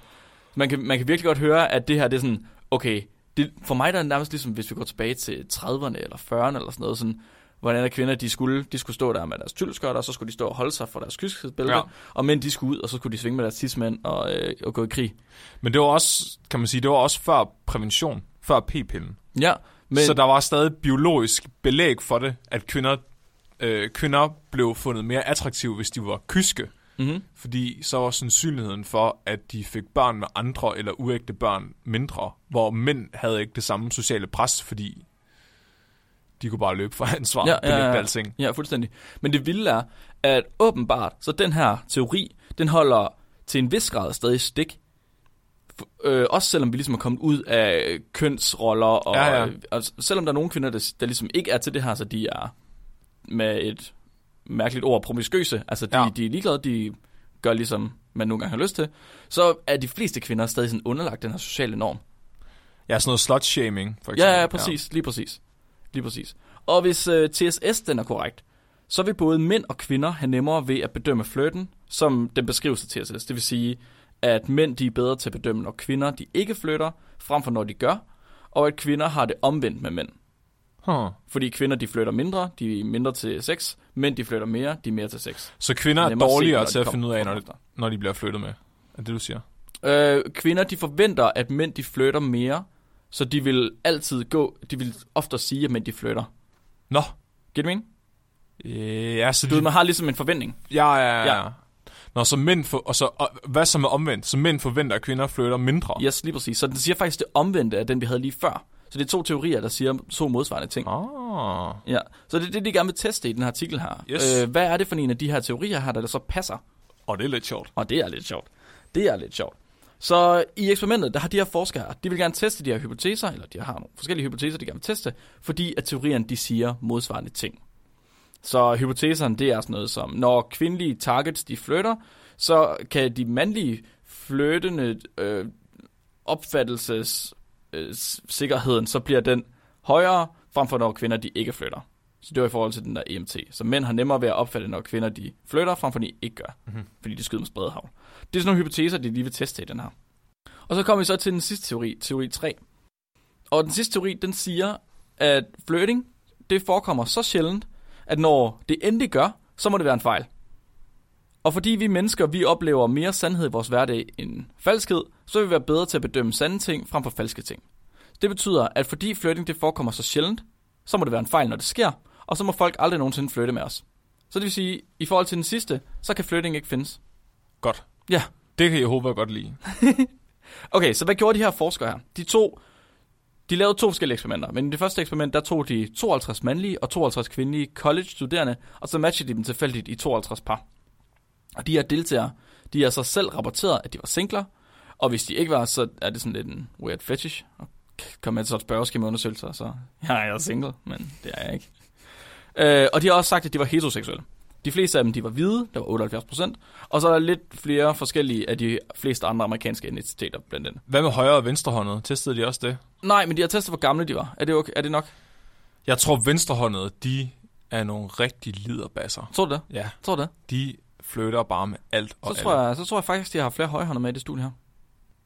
[SPEAKER 2] Man kan, man kan virkelig godt høre, at det her det er sådan, okay, det, for mig der er det nærmest ligesom, hvis vi går tilbage til 30'erne eller 40'erne eller sådan noget, sådan, hvordan er kvinder, de skulle, de skulle stå der med deres tylskørt, og så skulle de stå og holde sig for deres kyskhedsbælte,
[SPEAKER 1] Ja.
[SPEAKER 2] ja. og mænd, de skulle ud, og så skulle de svinge med deres tidsmænd og, øh, og gå i krig.
[SPEAKER 1] Men det var også, kan man sige, det var også før prævention, før p-pillen.
[SPEAKER 2] Ja,
[SPEAKER 1] Men...
[SPEAKER 2] men,
[SPEAKER 1] Så der var stadig biologisk belæg for det, at kvinder, øh, kvinder blev fundet mere attraktive, hvis de var kyske.
[SPEAKER 2] mm-hmm.
[SPEAKER 1] Fordi så var sandsynligheden for, at de fik børn med andre eller uægte børn mindre, hvor mænd havde ikke det samme sociale pres, fordi de kunne bare løbe fra ansvar ja, ja, ja. alting.
[SPEAKER 2] ja, fuldstændig. Men det vilde er, at åbenbart, så den her teori, den holder til en vis grad stadig stik. F- øh, også selvom vi ligesom er kommet ud af kønsroller, og,
[SPEAKER 1] Ja, ja.
[SPEAKER 2] øh, og s- selvom der er nogle kvinder, der, der ligesom ikke er til det her, så de er med et mærkeligt ord, promiskøse, altså de,
[SPEAKER 1] Ja.
[SPEAKER 2] ja. de er ligeglade, de gør ligesom man nogle gange har lyst til, så er de fleste kvinder stadig sådan underlagt den her sociale norm.
[SPEAKER 1] Ja, sådan noget slut-shaming, for eksempel.
[SPEAKER 2] Ja, ja, præcis. Ja. Lige præcis. Lige præcis. Og hvis øh, TSS den er korrekt, så vil både mænd og kvinder have nemmere ved at bedømme flirten, som den beskrives af TSS. Det vil sige, at mænd de er bedre til at bedømme, når kvinder de ikke flytter, frem for når de gør, og at kvinder har det omvendt med mænd.
[SPEAKER 1] Ja. Huh.
[SPEAKER 2] Fordi kvinder de flytter mindre, de er mindre til sex, mænd de flytter mere, de er mere til sex.
[SPEAKER 1] Så kvinder er
[SPEAKER 2] Nemmere at se,
[SPEAKER 1] dårligere
[SPEAKER 2] når de
[SPEAKER 1] til at
[SPEAKER 2] kommer
[SPEAKER 1] finde ud af, når de,
[SPEAKER 2] forfra.
[SPEAKER 1] når de bliver flyttet med. Er det, du siger?
[SPEAKER 2] Øh, kvinder, de forventer, at mænd, de flytter mere, så de vil altid gå, de vil ofte sige, at mænd, de flytter.
[SPEAKER 1] Nå.
[SPEAKER 2] Giver det mening?
[SPEAKER 1] Øh, Ja, så
[SPEAKER 2] Du ved,
[SPEAKER 1] de,
[SPEAKER 2] man har ligesom en forventning.
[SPEAKER 1] ja, ja, ja, ja.
[SPEAKER 2] Ja.
[SPEAKER 1] Nå, så mænd for, og så, og, hvad som er omvendt? Så mænd forventer, at kvinder flytter mindre.
[SPEAKER 2] Yes, lige præcis. Så den siger faktisk det omvendte af den, vi havde lige før. Så det er to teorier, der siger to modsvarende ting.
[SPEAKER 1] Ah.
[SPEAKER 2] Ja. Så det er det, de gerne vil teste i den her artikel her.
[SPEAKER 1] Yes.
[SPEAKER 2] Øh, hvad er det for en af de her teorier her, der så passer?
[SPEAKER 1] Og det er lidt sjovt.
[SPEAKER 2] Og det er lidt sjovt. Det er lidt sjovt. Så i eksperimentet, der har de her forskere, de vil gerne teste de her hypoteser, eller de har nogle forskellige hypoteser, de gerne vil teste, fordi at teorierne, de siger modsvarende ting. Så hypoteserne, det er sådan noget som, når kvindelige targets, de flytter, så kan de mandlige flyttende øh, opfattelses øh, s- sikkerheden, så bliver den højere, frem for når kvinder, de ikke flytter. Så det var i forhold til den der EMT. Så mænd har nemmere ved at opfatte, når kvinder, de flytter, frem for når de ikke gør fordi de skyder med spredhavl. Det er sådan nogle hypoteser, de lige vil teste i den her. Og så kommer vi så til den sidste teori, teori 3. Og den sidste teori, den siger, at flirting, det forekommer så sjældent, at når det endelig gør, så må det være en fejl. Og fordi vi mennesker, vi oplever mere sandhed i vores hverdag end falskhed, så vil vi være bedre til at bedømme sande ting frem for falske ting. Det betyder, at fordi flirting det forekommer så sjældent, så må det være en fejl, når det sker, og så må folk aldrig nogensinde flytte med os. Så det vil sige, i forhold til den sidste, så kan flirting ikke findes.
[SPEAKER 1] godt.
[SPEAKER 2] Ja.
[SPEAKER 1] Det kan Jehova godt lide.
[SPEAKER 2] Okay, så hvad gjorde de her forskere her? De to, de lavede to forskellige eksperimenter, men i det første eksperiment, der tog de 52 mandlige og 52 kvindelige college-studerende, og så matchede de dem tilfældigt i 52 par. Og de her deltagere, de har så selv rapporteret, at de var singler, og hvis de ikke var, så er det sådan lidt en weird fetish. Og kom med til et spørgeskemaundersøgelser, så ja, jeg er single, men det er jeg ikke. Øh, og de har også sagt, at de var heteroseksuelle. De fleste af dem, de var hvide, der var 78 procent, og så er der lidt flere forskellige af de fleste andre amerikanske etniciteter blandt andet.
[SPEAKER 1] Hvad med højre og venstrehåndet? Testede de også det?
[SPEAKER 2] Nej, men de har testet, hvor gamle de var. Er det, okay? er det nok?
[SPEAKER 1] Jeg tror, venstrehåndede, de er nogle rigtig liderbasser.
[SPEAKER 2] Tror du det?
[SPEAKER 1] Ja,
[SPEAKER 2] Tror du det?
[SPEAKER 1] de flytter bare med alt og
[SPEAKER 2] Så
[SPEAKER 1] alle.
[SPEAKER 2] tror, jeg, så tror jeg faktisk, de har flere højhånder med i det studie her.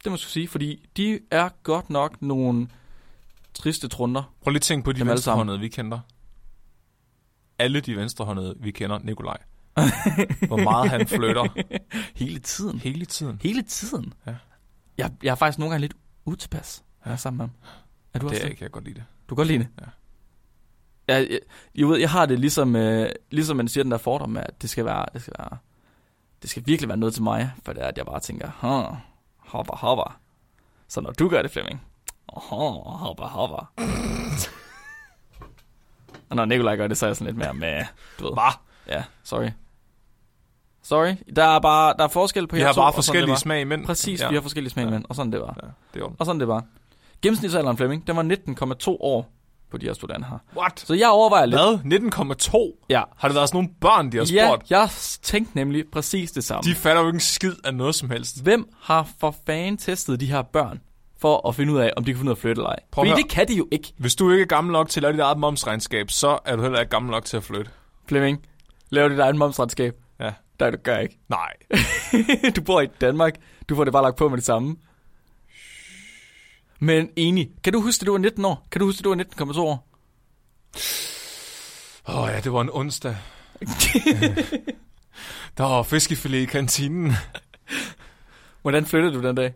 [SPEAKER 2] Det må jeg skulle sige, fordi de er godt nok nogle triste trunder.
[SPEAKER 1] Prøv lige at tænke på de
[SPEAKER 2] Dem alle
[SPEAKER 1] venstrehåndede, vi kender. Alle de venstrehåndede, vi kender, Nikolaj. Hvor meget han flytter
[SPEAKER 2] Hele tiden.
[SPEAKER 1] hele tiden.
[SPEAKER 2] Hele tiden?
[SPEAKER 1] Ja.
[SPEAKER 2] Jeg, jeg er faktisk nogle gange lidt utilpas, når jeg er sammen med ham. Er du også
[SPEAKER 1] Det
[SPEAKER 2] det?
[SPEAKER 1] er, kan jeg godt lide det.
[SPEAKER 2] Du kan godt lide det?
[SPEAKER 1] Ja.
[SPEAKER 2] Jeg, jeg, jeg, ved, jeg har det ligesom, øh, ligesom man siger den der fordom med, at det skal være, det skal være, det skal virkelig være noget til mig, for det er, at jeg bare tænker, huh, hopper, hopper. Så når du gør det, Flemming, oh, hopper, hopper. Og når Nikolaj gør det, så er jeg sådan lidt mere med, du ved. Hvad? Ja, sorry. Sorry, der er bare der er forskel på
[SPEAKER 1] Vi
[SPEAKER 2] jer
[SPEAKER 1] har
[SPEAKER 2] to,
[SPEAKER 1] bare
[SPEAKER 2] og sådan er det
[SPEAKER 1] forskellige
[SPEAKER 2] bare.
[SPEAKER 1] smag imellem.
[SPEAKER 2] Præcis, ja.
[SPEAKER 1] ja.
[SPEAKER 2] vi har forskellige smag, ja. og sådan det var.
[SPEAKER 1] Ja, det er ordentligt.
[SPEAKER 2] Og sådan det var. Gennemsnitsalderen Flemming, den var 19,2 år på de her studenter her.
[SPEAKER 1] What?
[SPEAKER 2] Så jeg overvejer lidt.
[SPEAKER 1] Hvad? 19,2?
[SPEAKER 2] Ja.
[SPEAKER 1] Har det været sådan nogle børn, de har
[SPEAKER 2] Ja,
[SPEAKER 1] spurgt?
[SPEAKER 2] jeg s- tænkte nemlig præcis det samme.
[SPEAKER 1] De fatter jo ikke en skid af noget som helst.
[SPEAKER 2] Hvem har for fanden testet de her børn for at finde ud af, om de kan finde ud af at flytte eller ej?
[SPEAKER 1] Prøv at
[SPEAKER 2] Fordi
[SPEAKER 1] høre.
[SPEAKER 2] det kan de jo ikke,
[SPEAKER 1] Hvis du ikke er gammel nok til at lave dit eget momsregnskab, så er du heller ikke gammel nok til at flytte.
[SPEAKER 2] Flemming. Lav dit egen momsretskab.
[SPEAKER 1] Ja.
[SPEAKER 2] Nej, du gør ikke.
[SPEAKER 1] Nej.
[SPEAKER 2] du bor i Danmark. Du får det bare lagt på med det samme. Men enig. Kan du huske, at du var 19 år? Kan du huske, at du var 19,2 år?
[SPEAKER 1] Åh oh, ja, det var en onsdag. Der var fiskefilet i kantinen.
[SPEAKER 2] Hvordan flyttede du den dag?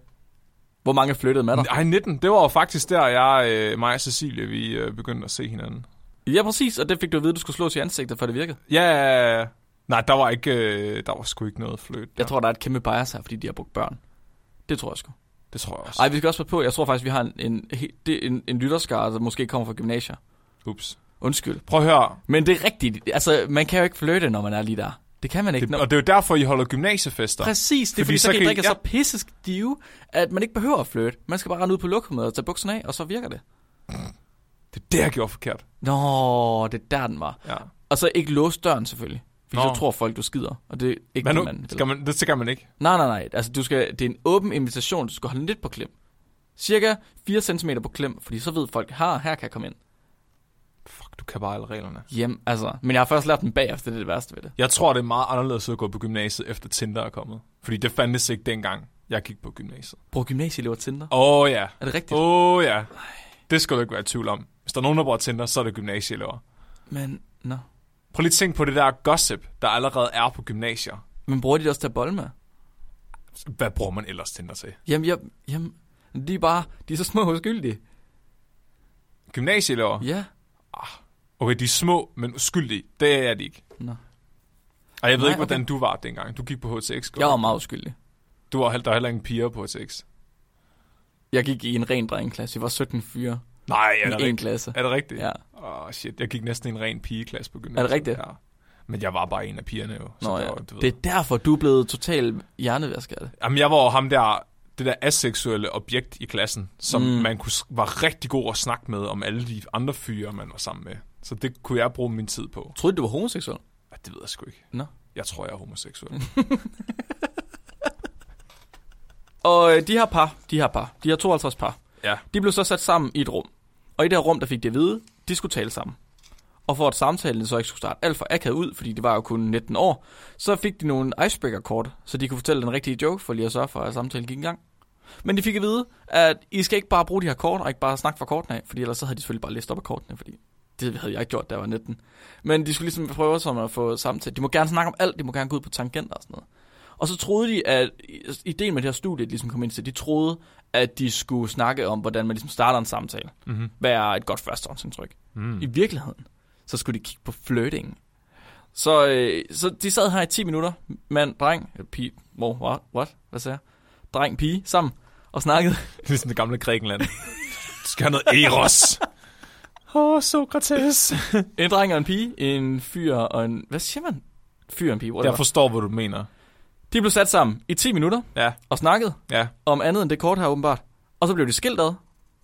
[SPEAKER 2] Hvor mange flyttede med dig?
[SPEAKER 1] Ej, 19. Det var jo faktisk der, jeg, øh, mig og Cecilie, vi øh, begyndte at se hinanden.
[SPEAKER 2] Ja, præcis, og det fik du at vide, at du skulle slås i ansigtet, før det virkede.
[SPEAKER 1] Ja, ja, ja. nej, der var ikke, øh, der var sgu ikke noget flødt.
[SPEAKER 2] Jeg tror, der er et kæmpe bias her, fordi de har brugt børn. Det tror jeg sgu.
[SPEAKER 1] Det tror jeg også.
[SPEAKER 2] Ej, vi skal også passe på. Jeg tror faktisk, vi har en, en, he- det, en, en lytterskare, der måske kommer fra gymnasier.
[SPEAKER 1] Ups.
[SPEAKER 2] Undskyld.
[SPEAKER 1] Prøv at høre.
[SPEAKER 2] Men det er rigtigt. Altså, man kan jo ikke flytte, når man er lige der. Det kan man ikke.
[SPEAKER 1] Det,
[SPEAKER 2] når...
[SPEAKER 1] og det er jo derfor, I holder gymnasiefester.
[SPEAKER 2] Præcis, det er fordi,
[SPEAKER 1] Fordi
[SPEAKER 2] så
[SPEAKER 1] så
[SPEAKER 2] kan I
[SPEAKER 1] kan I-
[SPEAKER 2] drikke
[SPEAKER 1] ja.
[SPEAKER 2] så pisse stive, at man ikke behøver at flytte. Man skal bare rende ud på lokummet og tage bukserne af, og så virker det.
[SPEAKER 1] Det er det, jeg gjorde forkert.
[SPEAKER 2] Nå, det er der, den var.
[SPEAKER 1] Ja.
[SPEAKER 2] Og så ikke låse døren, selvfølgelig. Fordi
[SPEAKER 1] Nå.
[SPEAKER 2] så tror folk, du skider, og det er ikke
[SPEAKER 1] Men
[SPEAKER 2] det,
[SPEAKER 1] nu,
[SPEAKER 2] man vil.
[SPEAKER 1] skal man, det skal man ikke.
[SPEAKER 2] Nej, nej, nej. Altså, du skal, det er en åben invitation. Du skal holde lidt på klem. Cirka 4 cm på klem, fordi så ved folk, her, her kan jeg komme ind.
[SPEAKER 1] Fuck, du kan bare alle reglerne.
[SPEAKER 2] Hjem, altså. Men jeg har først lært den bagefter, det er det værste ved det.
[SPEAKER 1] Jeg tror, det er meget anderledes at gå på gymnasiet, efter Tinder er kommet. Fordi det fandtes ikke dengang, jeg gik på gymnasiet.
[SPEAKER 2] Bruger gymnasieelever Tinder?
[SPEAKER 1] Åh oh, ja.
[SPEAKER 2] Er det rigtigt?
[SPEAKER 1] Åh oh, ja. Det skal du ikke være i tvivl om. Hvis der er nogen, der bruger Tinder, så er det gymnasieelever.
[SPEAKER 2] Men, nå.
[SPEAKER 1] Prøv lige at tænke på det der gossip, der allerede er på gymnasier.
[SPEAKER 2] Men bruger de det også til at bolle med?
[SPEAKER 1] Hvad bruger man ellers Tinder til?
[SPEAKER 2] Jamen, jeg, jamen, de er bare, de er så små og uskyldige.
[SPEAKER 1] Gymnasieelever?
[SPEAKER 2] Ja.
[SPEAKER 1] Okay, de er små, men uskyldige. Det er de ikke.
[SPEAKER 2] Nå.
[SPEAKER 1] Og jeg ved
[SPEAKER 2] Nej,
[SPEAKER 1] ikke, hvordan du var dengang. Du gik på HTX.
[SPEAKER 2] Jeg var meget uskyldig.
[SPEAKER 1] Du var, held- der var heller ingen piger på HTX.
[SPEAKER 2] Jeg gik i en ren drengklasse. Vi var 17 fyre
[SPEAKER 1] Nej, er det
[SPEAKER 2] i en
[SPEAKER 1] rigtigt?
[SPEAKER 2] klasse.
[SPEAKER 1] Er det rigtigt?
[SPEAKER 2] Ja.
[SPEAKER 1] Åh, oh, shit. Jeg gik næsten i en ren pigeklasse på gymnasiet.
[SPEAKER 2] Er det rigtigt?
[SPEAKER 1] Ja. Men jeg var bare en af pigerne jo. så
[SPEAKER 2] Nå
[SPEAKER 1] der
[SPEAKER 2] ja.
[SPEAKER 1] var- du ved.
[SPEAKER 2] Det er derfor, du er blevet total hjernevasket af det.
[SPEAKER 1] Jamen, jeg var jo ham der, det der aseksuelle objekt i klassen, som
[SPEAKER 2] Mm.
[SPEAKER 1] mm. man kunne, s- var rigtig god at snakke med om alle de andre fyre, man var sammen med. Så det kunne jeg bruge min tid på.
[SPEAKER 2] Troede du, du var homoseksuel?
[SPEAKER 1] Ja, det ved jeg sgu ikke.
[SPEAKER 2] Nå.
[SPEAKER 1] Jeg tror, jeg er homoseksuel.
[SPEAKER 2] Og øh, de her par, de her par, de her 52 par,
[SPEAKER 1] ja.
[SPEAKER 2] de blev så sat sammen i et rum. Og i det her rum, der fik de at vide, de skulle tale sammen. Og for at samtalen så ikke skulle starte alt for akavet ud, fordi de var jo kun 19 år, så fik de nogle icebreaker-kort, så de kunne fortælle den rigtige joke, for lige at sørge for, at samtalen gik i gang. Men de fik at vide, at I skal ikke bare bruge de her kort, og ikke bare snakke fra kortene af, fordi ellers så havde de selvfølgelig bare læst op af kortene, fordi det havde jeg ikke gjort, da jeg var 19. Men de skulle ligesom prøve som at få samtale. De må gerne snakke om alt, de må gerne gå ud på tangenter og sådan noget. Og så troede de, at ideen med det her studie, de ligesom kom ind til, de troede, at de skulle snakke om, hvordan man ligesom starter en samtale.
[SPEAKER 1] Mm-hmm.
[SPEAKER 2] Hvad er et godt førstehåndsindtryk?
[SPEAKER 1] Mm.
[SPEAKER 2] I virkeligheden, så skulle de kigge på flirting. Så, øh, så de sad her i 10 minutter, mand, dreng, øh, pige, Mor, what? what? Hvad sagde jeg? Dreng, pige, sammen og snakkede.
[SPEAKER 1] Det er sådan det gamle Grækenland. Du skal have noget eros. Åh, oh, Sokrates.
[SPEAKER 2] En dreng og en pige, en fyr og en... Hvad siger man? Fyr og en pige, whatever.
[SPEAKER 1] Jeg forstår, hvad du mener.
[SPEAKER 2] De blev sat sammen i 10 minutter
[SPEAKER 1] Ja,
[SPEAKER 2] og snakkede
[SPEAKER 1] ja.
[SPEAKER 2] om andet end det kort her åbenbart. Og så blev de skilt ad,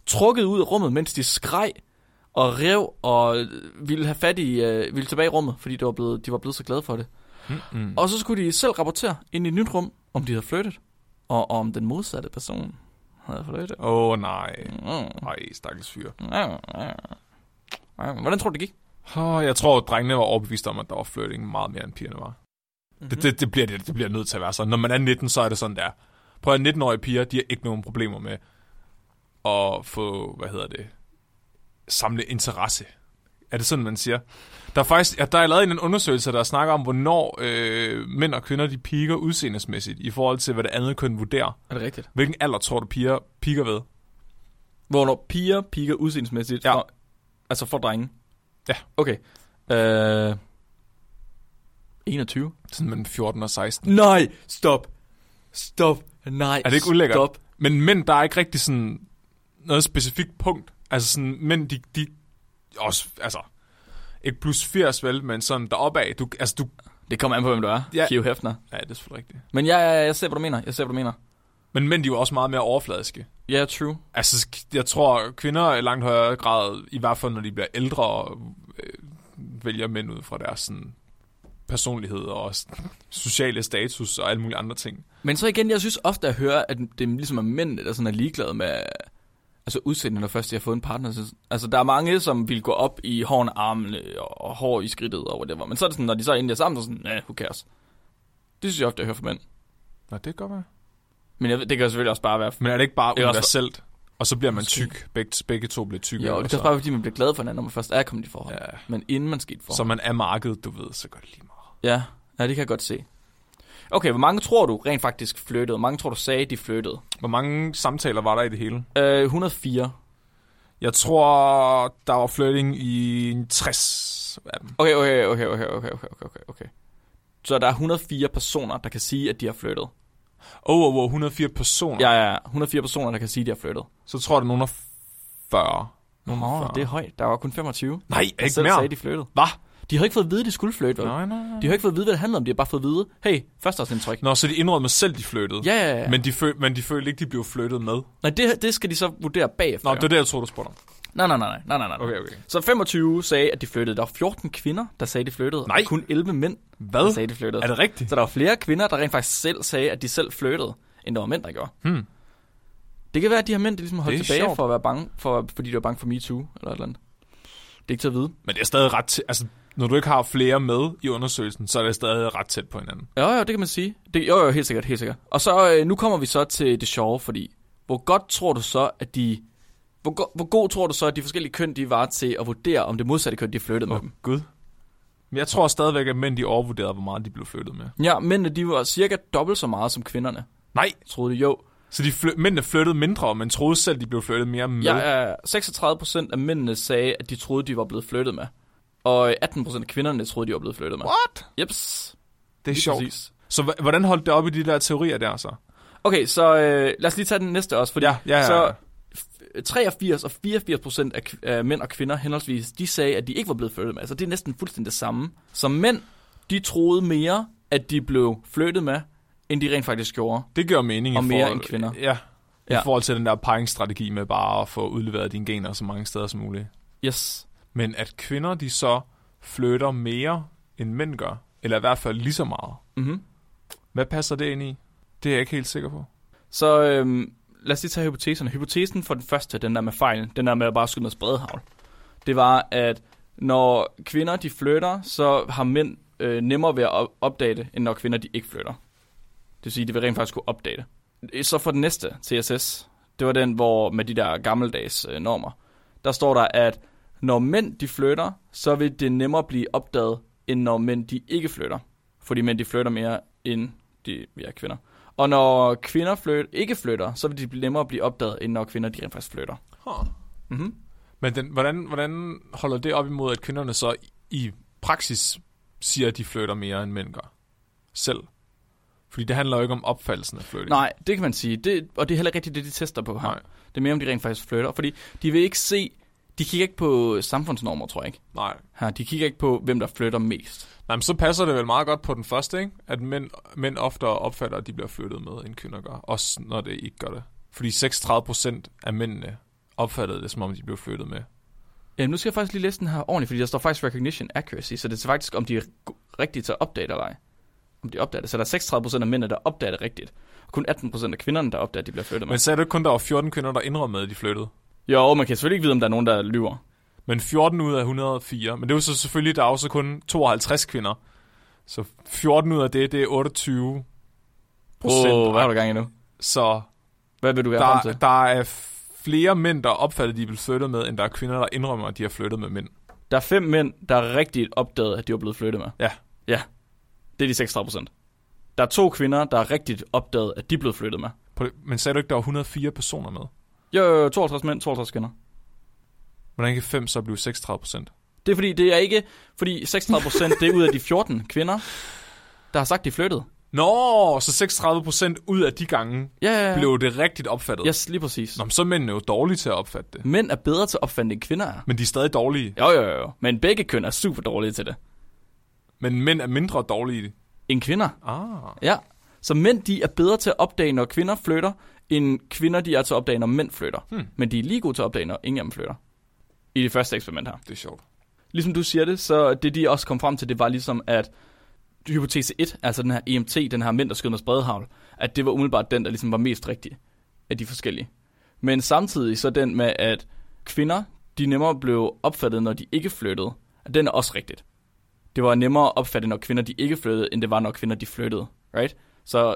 [SPEAKER 2] trukket ud af rummet, mens de skreg og rev og øh, ville have fat i, øh, ville tilbage i rummet, fordi det var blevet, de var blevet så glade for det.
[SPEAKER 1] Mm-mm.
[SPEAKER 2] Og så skulle de selv rapportere ind i et nyt rum, om de havde flyttet, og om den modsatte person havde flyttet.
[SPEAKER 1] Åh, oh, nej.
[SPEAKER 2] Mm.
[SPEAKER 1] Nej, stakkels fyr.
[SPEAKER 2] Hvordan tror du, det gik?
[SPEAKER 1] Oh, jeg tror, at drengene var overbevist om, at der var flirting meget mere, end pigerne var. Mm-hmm. Det, det, det, bliver, det, det bliver nødt til at være sådan. Når man er 19, så er det sådan der. Prøv at 19-årige piger, de har ikke nogen problemer med at få, hvad hedder det, samle interesse. Er det sådan, man siger? Der er faktisk, ja, der er lavet en undersøgelse, der snakker om, hvornår øh, mænd og kvinder, de piker udseendesmæssigt, i forhold til, hvad det andet køn vurderer.
[SPEAKER 2] Er det rigtigt?
[SPEAKER 1] Hvilken alder tror du, piger piker ved?
[SPEAKER 2] Hvornår piger piker udseendemæssigt
[SPEAKER 1] Ja.
[SPEAKER 2] for, altså for drenge?
[SPEAKER 1] Ja.
[SPEAKER 2] Okay. Øh, 21.
[SPEAKER 1] Sådan mellem 14 og 16.
[SPEAKER 2] Nej, stop. Stop. Nej,
[SPEAKER 1] Er det ikke ulækkert?
[SPEAKER 2] Stop.
[SPEAKER 1] Men mænd, der er ikke rigtig sådan noget specifikt punkt. Altså sådan, mænd, de, de også, altså, ikke plus 80, vel, men sådan deroppe af. Du, altså, du,
[SPEAKER 2] Det kommer an på, hvem du er.
[SPEAKER 1] Ja.
[SPEAKER 2] Ja. Hugh Hefner.
[SPEAKER 1] ja, det er selvfølgelig rigtigt.
[SPEAKER 2] Men jeg, jeg, jeg ser, hvad du mener. Jeg ser, hvad du mener.
[SPEAKER 1] Men mænd, de er jo også meget mere overfladiske.
[SPEAKER 2] Ja, yeah, true.
[SPEAKER 1] Altså, jeg tror, kvinder i langt højere grad, i hvert fald når de bliver ældre, øh, vælger mænd ud fra deres sådan, personlighed og s- sociale status og alle mulige andre ting.
[SPEAKER 2] Men så igen, jeg synes ofte at høre, at det ligesom er mænd, der sådan er ligeglade med altså udseendet, når først de har fået en partner. Så, altså, der er mange, som vil gå op i hårene, armene og, og hår i skridtet og whatever. Men så er det sådan, når de så endelig er sammen, så er det sådan, nej, who cares? Det synes jeg ofte, jeg hører fra mænd.
[SPEAKER 1] Nå, det kan godt være.
[SPEAKER 2] Men jeg, ved- det kan selvfølgelig også bare være...
[SPEAKER 1] Men er det ikke bare
[SPEAKER 2] Det er også-
[SPEAKER 1] universelt? Og så bliver man
[SPEAKER 2] Måske.
[SPEAKER 1] tyk. Begge, begge to bliver tykke.
[SPEAKER 2] Jo,
[SPEAKER 1] og
[SPEAKER 2] det kan
[SPEAKER 1] så-
[SPEAKER 2] også bare være, fordi man bliver glad for hinanden, når man først er kommet i forhold.
[SPEAKER 1] Ja.
[SPEAKER 2] Men inden man skete for.
[SPEAKER 1] Så man er markedet, du ved, så godt lige meget.
[SPEAKER 2] Ja, ja, det kan jeg godt se. Okay, hvor mange tror du rent faktisk flyttede? Hvor mange tror du sagde, de flyttede?
[SPEAKER 1] Hvor mange samtaler var der i det hele?
[SPEAKER 2] Øh, 104.
[SPEAKER 1] Jeg tror, der var flirting i en 60 af dem.
[SPEAKER 2] Okay, okay, okay, okay, okay, okay, okay, okay, okay. Så der er 104 personer, der kan sige, at de har flyttet.
[SPEAKER 1] Oh, oh, oh 104 personer.
[SPEAKER 2] Ja, ja, ja. 104 personer, der kan sige, at de har flyttet.
[SPEAKER 1] Så tror jeg, der er nogen af 40. Nogen af
[SPEAKER 2] Nå,
[SPEAKER 1] 40.
[SPEAKER 2] det er højt. Der var kun 25.
[SPEAKER 1] Nej,
[SPEAKER 2] der
[SPEAKER 1] ikke
[SPEAKER 2] selv
[SPEAKER 1] mere.
[SPEAKER 2] sagde, de flyttede.
[SPEAKER 1] Hvad?
[SPEAKER 2] De har ikke fået at vide, at de skulle flytte, vel?
[SPEAKER 1] Nej, nej, nej.
[SPEAKER 2] De har ikke fået at vide, hvad det handler om. De har bare fået at vide, hey, førsteårsindtryk.
[SPEAKER 1] Nå, så de indrømmer selv, de flyttede.
[SPEAKER 2] Ja, ja, ja. Men...
[SPEAKER 1] Men, de føl- men de følte ikke, de blev flyttet med.
[SPEAKER 2] Nej, det, det skal de så vurdere bagefter.
[SPEAKER 1] Nå,
[SPEAKER 2] jo.
[SPEAKER 1] det er det, jeg troede, du spurgte om.
[SPEAKER 2] Nej, nej, nej, nej, nej, nej, nej.
[SPEAKER 1] Okay, okay.
[SPEAKER 2] Så 25 sagde, at de flyttede. Der var 14 kvinder, der sagde, at de flyttede.
[SPEAKER 1] Nej.
[SPEAKER 2] Og kun 11 mænd,
[SPEAKER 1] Hvad?
[SPEAKER 2] der Altså, sagde, at de flyttede.
[SPEAKER 1] Er det rigtigt?
[SPEAKER 2] Så der var flere kvinder, der rent faktisk selv sagde, at de selv flyttede, end der var mænd, der gjorde.
[SPEAKER 1] Hmm.
[SPEAKER 2] Det kan være, at de her mænd de ligesom holdt
[SPEAKER 1] Det er
[SPEAKER 2] tilbage
[SPEAKER 1] sjovt.
[SPEAKER 2] for at være bange, for, fordi de var bange for MeToo eller et eller andet. Det er ikke til at vide.
[SPEAKER 1] Men det er stadig ret tæt. Altså, når du ikke har flere med i undersøgelsen, så er det stadig ret tæt på hinanden.
[SPEAKER 2] Jo, jo, det kan man sige. Det, jo, jo, helt sikkert, helt sikkert. Og så, øh, nu kommer vi så til det sjove, fordi hvor godt tror du så, at de... Hvor, go, hvor god tror du så, at de forskellige køn, de var til at vurdere, om det modsatte køn, de flyttede med
[SPEAKER 1] Åh,
[SPEAKER 2] dem?
[SPEAKER 1] Gud. Men jeg tror stadigvæk, at mænd de overvurderede, hvor meget de blev flyttet med.
[SPEAKER 2] Ja, mændene, de var cirka dobbelt så meget som kvinderne,
[SPEAKER 1] Nej,
[SPEAKER 2] troede de. Jo,
[SPEAKER 1] Så de fly- mændene flyttede mindre, men troede selv, de blev flyttet mere med.
[SPEAKER 2] Ja, ja, ja. 36 procent af mændene sagde, at de troede, de var blevet flyttet med. Og 18 procent af kvinderne troede, de var blevet flyttet med.
[SPEAKER 1] What?
[SPEAKER 2] Jeps.
[SPEAKER 1] Det er
[SPEAKER 2] lige
[SPEAKER 1] sjovt. Præcis.
[SPEAKER 2] præcis.
[SPEAKER 1] Så h- hvordan holdt det op i de der teorier der så?
[SPEAKER 2] Okay, så øh, lad os lige tage den næste også. Fordi
[SPEAKER 1] Ja, ja, ja.
[SPEAKER 2] Så f- 83 og 84 procent af, kv- af mænd og kvinder henholdsvis, de sagde, at de ikke var blevet flyttet med. Altså det er næsten fuldstændig det samme. Så mænd, de troede mere, at de blev flyttet med, end de rent faktisk gjorde.
[SPEAKER 1] Det gør mening. i
[SPEAKER 2] Og mere
[SPEAKER 1] forhold-
[SPEAKER 2] end kvinder.
[SPEAKER 1] Ja. I
[SPEAKER 2] Ja.
[SPEAKER 1] forhold til den der parringsstrategi med bare at få udleveret dine gener så mange steder som muligt.
[SPEAKER 2] Yes.
[SPEAKER 1] Men at kvinder, de så flytter mere, end mænd gør. Eller i hvert fald lige så meget.
[SPEAKER 2] Mm-hmm.
[SPEAKER 1] Hvad passer det ind i? Det er jeg ikke helt sikker på.
[SPEAKER 2] Så øhm, lad os lige tage hypoteserne. Hypotesen for den første, den der med fejlen, den der med at bare skyde noget spredhavl, det var, at når kvinder de flytter, så har mænd øh, nemmere ved at op- opdage det, end når kvinder de ikke flytter. Det vil sige, de vil rent faktisk kunne opdage det. Øh, Så for den næste, TSS, det var den, hvor med de der gammeldags øh, normer, der står der, at når mænd de flytter, så vil det nemmere blive opdaget, end når mænd de ikke flytter. Fordi mænd de flytter mere, end de ja, kvinder. Og når kvinder flyt, ikke flytter, så vil de blive nemmere at blive opdaget, end når kvinder de rent faktisk flytter.
[SPEAKER 1] Huh.
[SPEAKER 2] Mm-hmm.
[SPEAKER 1] Men den, hvordan, hvordan holder det op imod, at kvinderne så i praksis siger, at de flytter mere, end mænd gør? Selv. Fordi det handler jo ikke om opfattelsen af flirting.
[SPEAKER 2] Nej, det kan man sige. Det, og det er heller ikke rigtigt det, de tester på her.
[SPEAKER 1] Nej.
[SPEAKER 2] Det er mere, om de rent faktisk flytter. Fordi de vil ikke se... De kigger ikke på samfundsnormer, tror jeg ikke.
[SPEAKER 1] Nej.
[SPEAKER 2] Her, de kigger ikke på, hvem der flytter mest.
[SPEAKER 1] Nej, men så passer det vel meget godt på den første, ikke? At mænd, mænd oftere opfatter, at de bliver flyttet med, end kvinder gør. Også når det ikke gør det. Fordi 36% af mændene opfattede det, som om de blev flyttet med.
[SPEAKER 2] Øhm, nu skal jeg faktisk lige læse den her ordentligt, fordi der står faktisk recognition accuracy, så det er faktisk, om de er go- rigtige til at opdage det eller ej. Om de opdager det. Så der er 36% af mændene, der opdager det rigtigt. Og kun 18% af kvinderne, der opdager, at de bliver flyttet med.
[SPEAKER 1] Men sagde du ikke kun, der var 14 kvinder, der indrømmede, at de flyttede?
[SPEAKER 2] Jo, man kan selvfølgelig ikke vide, om der er nogen, der lyver.
[SPEAKER 1] Men 14 ud af 104. Men det er jo så selvfølgelig, der er også kun 52 kvinder. Så 14 ud af det, det er 28 procent.
[SPEAKER 2] Åh, hvad har du gang i nu?
[SPEAKER 1] Så
[SPEAKER 2] Hvad vil du være frem
[SPEAKER 1] der,
[SPEAKER 2] til?
[SPEAKER 1] der er flere mænd, der opfatter, at de er blevet flyttet med, end der er kvinder, der indrømmer, at de har flyttet med mænd.
[SPEAKER 2] Der er fem mænd, der rigtigt opdagede, at de var blevet flyttet med.
[SPEAKER 1] Ja.
[SPEAKER 2] Ja, det er de 36 procent. Der er to kvinder, der rigtigt opdagede, at de blev flyttet med.
[SPEAKER 1] På det- Men sagde du ikke, der var 104 personer med?
[SPEAKER 2] Jo, jo, jo, 52 mænd, 52 kvinder.
[SPEAKER 1] Hvordan kan 5 så blive 36 procent?
[SPEAKER 2] Det er fordi, det er ikke... Fordi 36 procent, det er ud af de 14 kvinder, der har sagt, de flyttede.
[SPEAKER 1] Nå, så 36 procent ud af de gange
[SPEAKER 2] Ja, ja, ja.
[SPEAKER 1] blev det rigtigt opfattet.
[SPEAKER 2] Yes, Mm. lige præcis.
[SPEAKER 1] Nå, men så er mændene jo dårlige til at opfatte det.
[SPEAKER 2] Mænd er bedre til at opfinde, end kvinder er.
[SPEAKER 1] Men de er stadig dårlige.
[SPEAKER 2] Jo, jo, jo, jo. Men begge køn er super dårlige til det.
[SPEAKER 1] Men mænd er mindre dårlige.
[SPEAKER 2] End kvinder.
[SPEAKER 1] Ah.
[SPEAKER 2] Ja. Så mænd, de er bedre til at opdage, når kvinder flytter, end kvinder, de er til at opdage, når mænd flytter.
[SPEAKER 1] Hmm.
[SPEAKER 2] Men de er lige gode til at opdage, når ingen af dem flytter. I det første eksperiment her.
[SPEAKER 1] Det er sjovt.
[SPEAKER 2] Ligesom du siger det, så det de også kom frem til, det var ligesom, at hypotese 1, altså den her EMT, den her mænd, der skød med spredhavl, at det var umiddelbart den, der ligesom var mest rigtig af de forskellige. Men samtidig så den med, at kvinder, de nemmere blev opfattet, når de ikke flyttede, at den er også rigtigt. Det var nemmere at opfatte, når kvinder de ikke flyttede, end det var, når kvinder de flyttede. Right? Så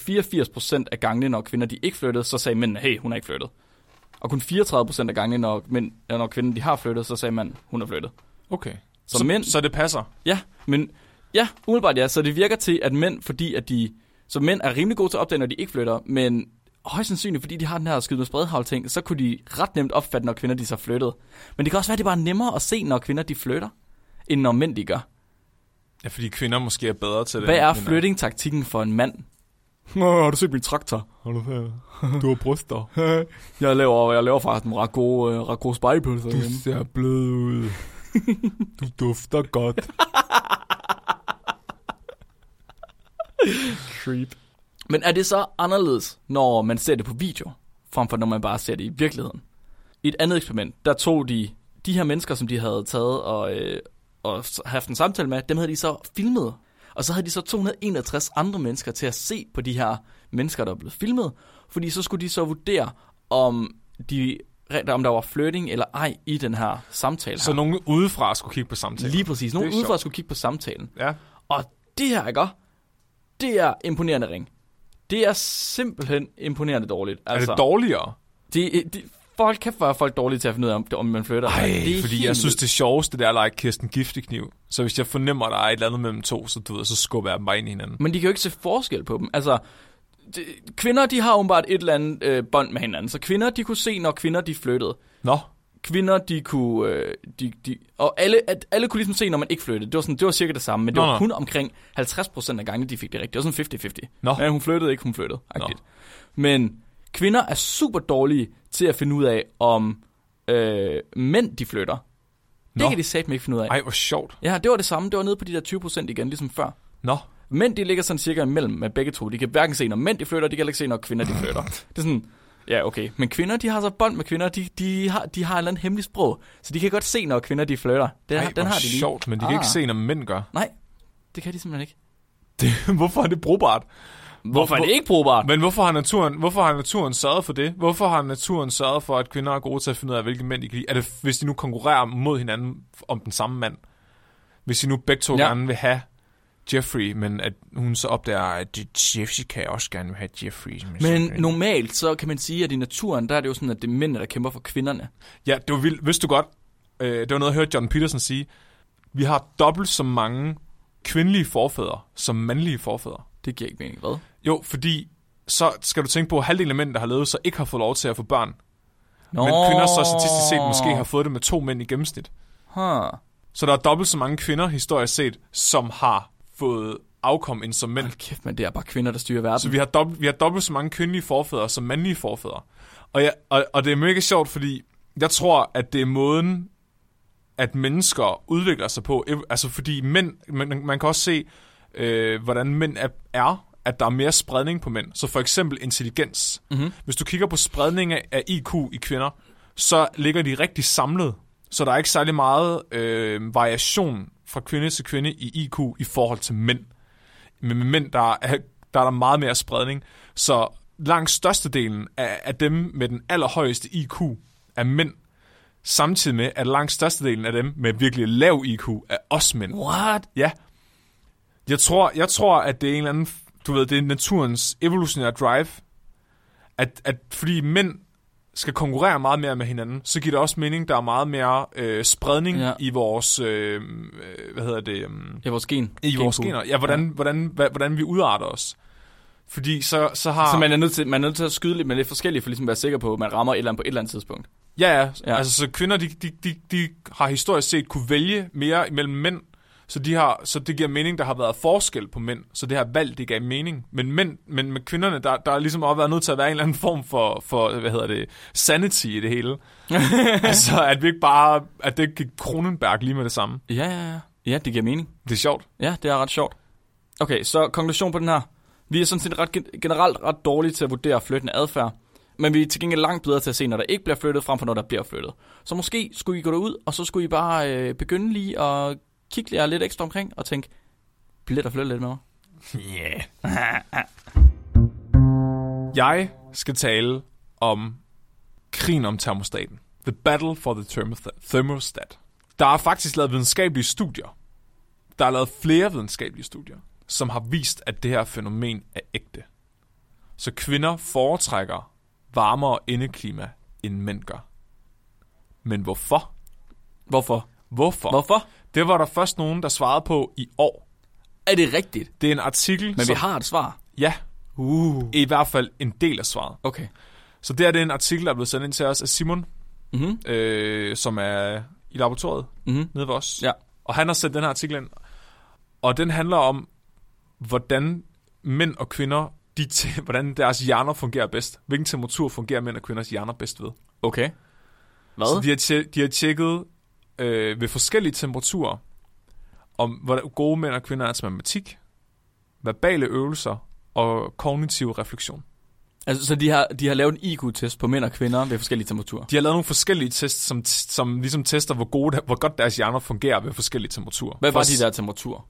[SPEAKER 2] 84% af gangene, når kvinder de ikke flyttede, så sagde mændene, hey, hun har ikke flyttet. Og kun 34% af gangene, når, mænd, når kvinder de har flyttet, så sagde manden, hun har flyttet.
[SPEAKER 1] Okay.
[SPEAKER 2] Så
[SPEAKER 1] så,
[SPEAKER 2] mænd-
[SPEAKER 1] så det passer.
[SPEAKER 2] Ja, men ja, umiddelbart ja. Så det virker til, at mænd, fordi at de... Så mænd er rimelig gode til at opdage, når de ikke flytter, men højst sandsynligt, fordi de har den her skyde med spredhavl ting, så kunne de ret nemt opfatte, når kvinder de så flyttede. Men det kan også være, at det bare er nemmere at se, når kvinder de flytter, end når mænd de gør.
[SPEAKER 1] Ja, fordi kvinder måske er bedre til det.
[SPEAKER 2] Hvad
[SPEAKER 1] end
[SPEAKER 2] er
[SPEAKER 1] mænd
[SPEAKER 2] flytting-taktikken for en mand?
[SPEAKER 1] Nå, har du set min traktor? Har du, du har bryster.
[SPEAKER 2] Jeg laver, jeg laver faktisk en ret gode, øh, ret gode spejepølser
[SPEAKER 1] ser blød ud. Du dufter godt.
[SPEAKER 2] Creep. Men er det så anderledes, når man ser det på video, frem for når man bare ser det i virkeligheden? I et andet eksperiment, der tog de de her mennesker, som de havde taget og, øh, og s- haft en samtale med, dem havde de så filmet. Og så havde de så 261 andre mennesker til at se på de her mennesker, der var blevet filmet. Fordi så skulle de så vurdere, om, de, om der var flirting eller ej i den her samtale.
[SPEAKER 1] Så
[SPEAKER 2] her.
[SPEAKER 1] nogen udefra skulle kigge på samtalen.
[SPEAKER 2] Lige præcis. Nogen
[SPEAKER 1] Det er
[SPEAKER 2] udefra
[SPEAKER 1] sjovt.
[SPEAKER 2] skulle kigge på samtalen.
[SPEAKER 1] Ja.
[SPEAKER 2] Og det her, ikke? Det er imponerende ring. Det er simpelthen imponerende dårligt.
[SPEAKER 1] Altså,
[SPEAKER 2] Altså,
[SPEAKER 1] er det dårligere?
[SPEAKER 2] det, det, folk kan være folk dårlige til at finde ud af, om, om man flytter.
[SPEAKER 1] Ej,
[SPEAKER 2] det er
[SPEAKER 1] fordi
[SPEAKER 2] helt
[SPEAKER 1] jeg synes,
[SPEAKER 2] vildt.
[SPEAKER 1] det sjoveste, det er at lege Kirsten Giftekniv. Så hvis jeg fornemmer, der er et eller andet mellem to, så, du ved, så skubber jeg dem bare ind i hinanden.
[SPEAKER 2] Men de kan jo ikke se forskel på dem. Altså, det, kvinder, de har åbenbart et eller andet øh, bånd med hinanden. Så kvinder, de kunne se, når kvinder, de flyttede.
[SPEAKER 1] Nå,
[SPEAKER 2] Kvinder, de kunne... Øh, de, de, og alle, at, alle kunne ligesom se, når man ikke flyttede. Det var, sådan, det var cirka det samme, men det
[SPEAKER 1] Nå,
[SPEAKER 2] var
[SPEAKER 1] nå.
[SPEAKER 2] kun omkring 50% af gangene, de fik det rigtigt. Det var sådan 50-50.
[SPEAKER 1] nå.
[SPEAKER 2] Ja, hun flyttede ikke, hun flyttede. Agtigt. Men kvinder er super dårlige til at finde ud af, om øh, mænd de flytter. Det
[SPEAKER 1] Nå.
[SPEAKER 2] kan de satme ikke finde ud af.
[SPEAKER 1] Ej, hvor sjovt.
[SPEAKER 2] Ja, det var det samme. Det var nede på de der 20% igen, ligesom før.
[SPEAKER 1] Nå.
[SPEAKER 2] Mænd, de ligger sådan cirka imellem med begge to. De kan hverken se, når mænd de flytter, de kan heller ikke se, når kvinder de flytter. Det er sådan, ja okay. Men kvinder, de har så bånd med kvinder, de, de, har, de har et eller andet hemmeligt sprog. Så de kan godt se, når kvinder de flytter. Den,
[SPEAKER 1] Ej,
[SPEAKER 2] Ej, den
[SPEAKER 1] hvor
[SPEAKER 2] har de lige.
[SPEAKER 1] sjovt, men de kan
[SPEAKER 2] Ah.
[SPEAKER 1] ikke se, når mænd gør.
[SPEAKER 2] Nej, det kan de simpelthen ikke.
[SPEAKER 1] Det, hvorfor er det brugbart?
[SPEAKER 2] Hvorfor er det ikke brugbart?
[SPEAKER 1] Men hvorfor har, naturen, hvorfor har naturen sørget for det? Hvorfor har naturen sørget for, at kvinder er gode til at finde ud af, hvilke mænd de kan lide? Er det, hvis de nu konkurrerer mod hinanden om den samme mand? Hvis de nu begge to
[SPEAKER 2] Ja.
[SPEAKER 1] ja. gerne vil have Jeffrey, men at hun så opdager, at det- Jessica også gerne vil have Jeffrey. som er
[SPEAKER 2] Men
[SPEAKER 1] sådan en-
[SPEAKER 2] normalt, så kan man sige, at i naturen, der er det jo sådan, at det er mændene, der kæmper for kvinderne.
[SPEAKER 1] Ja, det var vildt. Vidste du godt, øh, det var noget, jeg hørte John Peterson sige. Vi har dobbelt så mange kvindelige forfædre som mandlige forfædre.
[SPEAKER 2] Det giver ikke mening, hvad?
[SPEAKER 1] Jo, fordi så skal du tænke på, at halvdelen af mænd, der har levet, så ikke har fået lov til at få børn.
[SPEAKER 2] Nå.
[SPEAKER 1] Men kvinder så statistisk set måske har fået det med to mænd i gennemsnit.
[SPEAKER 2] Huh.
[SPEAKER 1] Så der er dobbelt så mange kvinder, historisk set, som har fået afkom end som mænd.
[SPEAKER 2] Hold kæft, men det er bare kvinder, der styrer verden.
[SPEAKER 1] Så vi har, dobbelt, vi har dobbelt så mange kvindelige forfædre som mandlige forfædre. Og, jeg, og, og det er mega sjovt, fordi jeg tror, at det er måden, at mennesker udvikler sig på. Ev- Altså fordi mænd, man, man kan også se, øh, hvordan mænd er, er, at der er mere spredning på mænd. Så for eksempel intelligens.
[SPEAKER 2] Mhm.
[SPEAKER 1] Hvis du kigger på spredning af, af IQ i kvinder, så ligger de rigtig samlet. Så der er ikke særlig meget øh, variation fra kvinde til kvinde i IQ i forhold til mænd. Men med mænd, der er, der er der meget mere spredning. Så langt størstedelen af, af dem med den allerhøjeste IQ er mænd. Samtidig med, at langt størstedelen af dem med virkelig lav IQ er også mænd.
[SPEAKER 2] What?
[SPEAKER 1] Ja. Jeg tror, jeg tror, at det er en eller anden, du ved, det er naturens evolutionære drive, at, at fordi mænd skal konkurrere meget mere med hinanden, så giver det også mening, der er meget mere øh, spredning
[SPEAKER 2] Ja.
[SPEAKER 1] ja. i vores, øh, øh, hvad hedder det, øh,
[SPEAKER 2] Ja, vores gen.
[SPEAKER 1] i vores
[SPEAKER 2] Genkode.
[SPEAKER 1] gener. Ja, hvordan, ja. Hvordan, hva- hvordan vi udarter os. Fordi så, så har...
[SPEAKER 2] Så man er, nødt til, man er nødt til at skyde lidt med lidt forskellige, for ligesom at være sikker på, at man rammer et eller andet på et eller andet tidspunkt.
[SPEAKER 1] Ja, ja.
[SPEAKER 2] Ja.
[SPEAKER 1] ja. Altså, så kvinder, de, de, de, de har historisk set kunne vælge mere imellem mænd, så, de har, så det giver mening, der har været forskel på mænd, så det her valg, det gav mening. Men, mænd, men med kvinderne, der, der er ligesom også været nødt til at være en eller anden form for, for hvad hedder det, sanity i det hele. altså, at vi ikke bare, at det ikke gik Kronenberg lige med det samme.
[SPEAKER 2] Ja, ja, ja. Ja, det giver mening.
[SPEAKER 1] Det er sjovt.
[SPEAKER 2] Ja, det er ret sjovt. Okay, så konklusion på den her. Vi er sådan set ret, gen- generelt ret dårlige til at vurdere flyttende adfærd, men vi er til gengæld langt bedre til at se, når der ikke bliver flyttet, frem for når der bliver flyttet. Så måske skulle I gå derud, og så skulle I bare øh, begynde lige at kigge jer lidt ekstra omkring og tænke, bliver der flyttet lidt med mig?
[SPEAKER 1] Yeah. Jeg skal tale om krigen om termostaten. The battle for the thermostat- thermostat. Der er faktisk lavet videnskabelige studier. Der er lavet flere videnskabelige studier, som har vist, at det her fænomen er ægte. Så kvinder foretrækker varmere indeklima, end mænd gør. Men hvorfor?
[SPEAKER 2] Hvorfor?
[SPEAKER 1] Hvorfor?
[SPEAKER 2] Hvorfor?
[SPEAKER 1] Det var der først nogen, der svarede på i år.
[SPEAKER 2] Er det rigtigt?
[SPEAKER 1] Det er en artikel,
[SPEAKER 2] Men vi
[SPEAKER 1] som,
[SPEAKER 2] har et svar.
[SPEAKER 1] ja,
[SPEAKER 2] Uh.
[SPEAKER 1] i hvert fald en del af svaret.
[SPEAKER 2] Okay.
[SPEAKER 1] Så der er det en artikel, der er blevet sendt ind til os af Simon,
[SPEAKER 2] Mhm.
[SPEAKER 1] øh, som er i laboratoriet
[SPEAKER 2] Mhm.
[SPEAKER 1] nede ved os.
[SPEAKER 2] Ja.
[SPEAKER 1] Og han har sendt den her artikel ind, og den handler om, hvordan mænd og kvinder, de t- hvordan deres hjerner fungerer bedst. Hvilken temperatur fungerer mænd og kvinders hjerner bedst ved.
[SPEAKER 2] Okay.
[SPEAKER 1] Så
[SPEAKER 2] Hvad?
[SPEAKER 1] de har, tje- de har tjekket øh, ved forskellige temperaturer, om hvordan gode mænd og kvinder er til matematik, verbale øvelser og kognitiv refleksion.
[SPEAKER 2] Altså, så de har, de har lavet en IQ-test på mænd og kvinder ved forskellige temperaturer.
[SPEAKER 1] De har lavet nogle forskellige tests, som, som ligesom tester, hvor, gode, hvor godt deres hjerner fungerer ved forskellige temperaturer.
[SPEAKER 2] Hvad var
[SPEAKER 1] For-
[SPEAKER 2] de der temperaturer?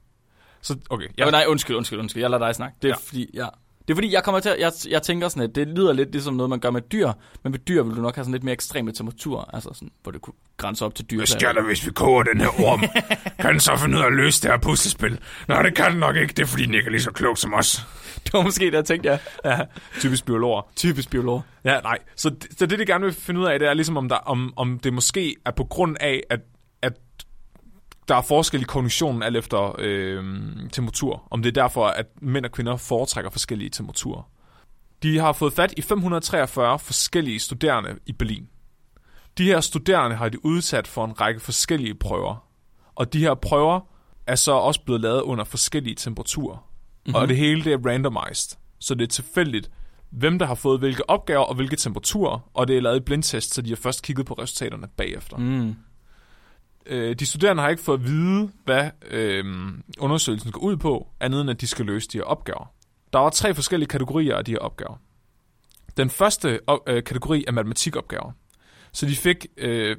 [SPEAKER 1] Så, okay,
[SPEAKER 2] Ja.
[SPEAKER 1] ja,
[SPEAKER 2] Oh, nej, undskyld, undskyld, undskyld. Jeg lader dig snakke. Det er ja.
[SPEAKER 1] Ja.
[SPEAKER 2] fordi, ja. Det er fordi, jeg kommer til at, jeg, jeg tænker sådan, at det lyder lidt ligesom noget, man gør med dyr, men med dyr vil du nok have sådan lidt mere ekstreme temperaturer, altså sådan, hvor det kunne grænse op til dyr.
[SPEAKER 1] der, hvis vi koger den her orm? kan den så finde ud af at løse det her puslespil? Nej, det kan den nok ikke. Det er, fordi den ikke er lige så klog som os.
[SPEAKER 2] Det var måske det, jeg tænkte, ja.
[SPEAKER 1] Ja, typisk biologer.
[SPEAKER 2] Typisk biolog.
[SPEAKER 1] Ja, nej. Så, det- så det, de gerne vil finde ud af, det er ligesom, om, der, om, om det måske er på grund af, at, at der er forskel i kognitionen alt efter øh, temperatur. Om det er derfor, at mænd og kvinder foretrækker forskellige temperaturer. De har fået fat i 543 forskellige studerende i Berlin. De her studerende har de udsat for en række forskellige prøver. Og de her prøver er så også blevet lavet under forskellige temperaturer. Mm-hmm. Og det hele det er randomized. Så det er tilfældigt, hvem der har fået hvilke opgaver og hvilke temperaturer. Og det er lavet i blindtest, så de har først kigget på resultaterne bagefter.
[SPEAKER 2] Mm.
[SPEAKER 1] Øh, de studerende har ikke fået at vide, hvad øh, undersøgelsen går ud på, andet end at de skal løse de her opgaver. Der var tre forskellige kategorier af de her opgaver. Den første op- øh, kategori er matematikopgaver. Så de fik øh,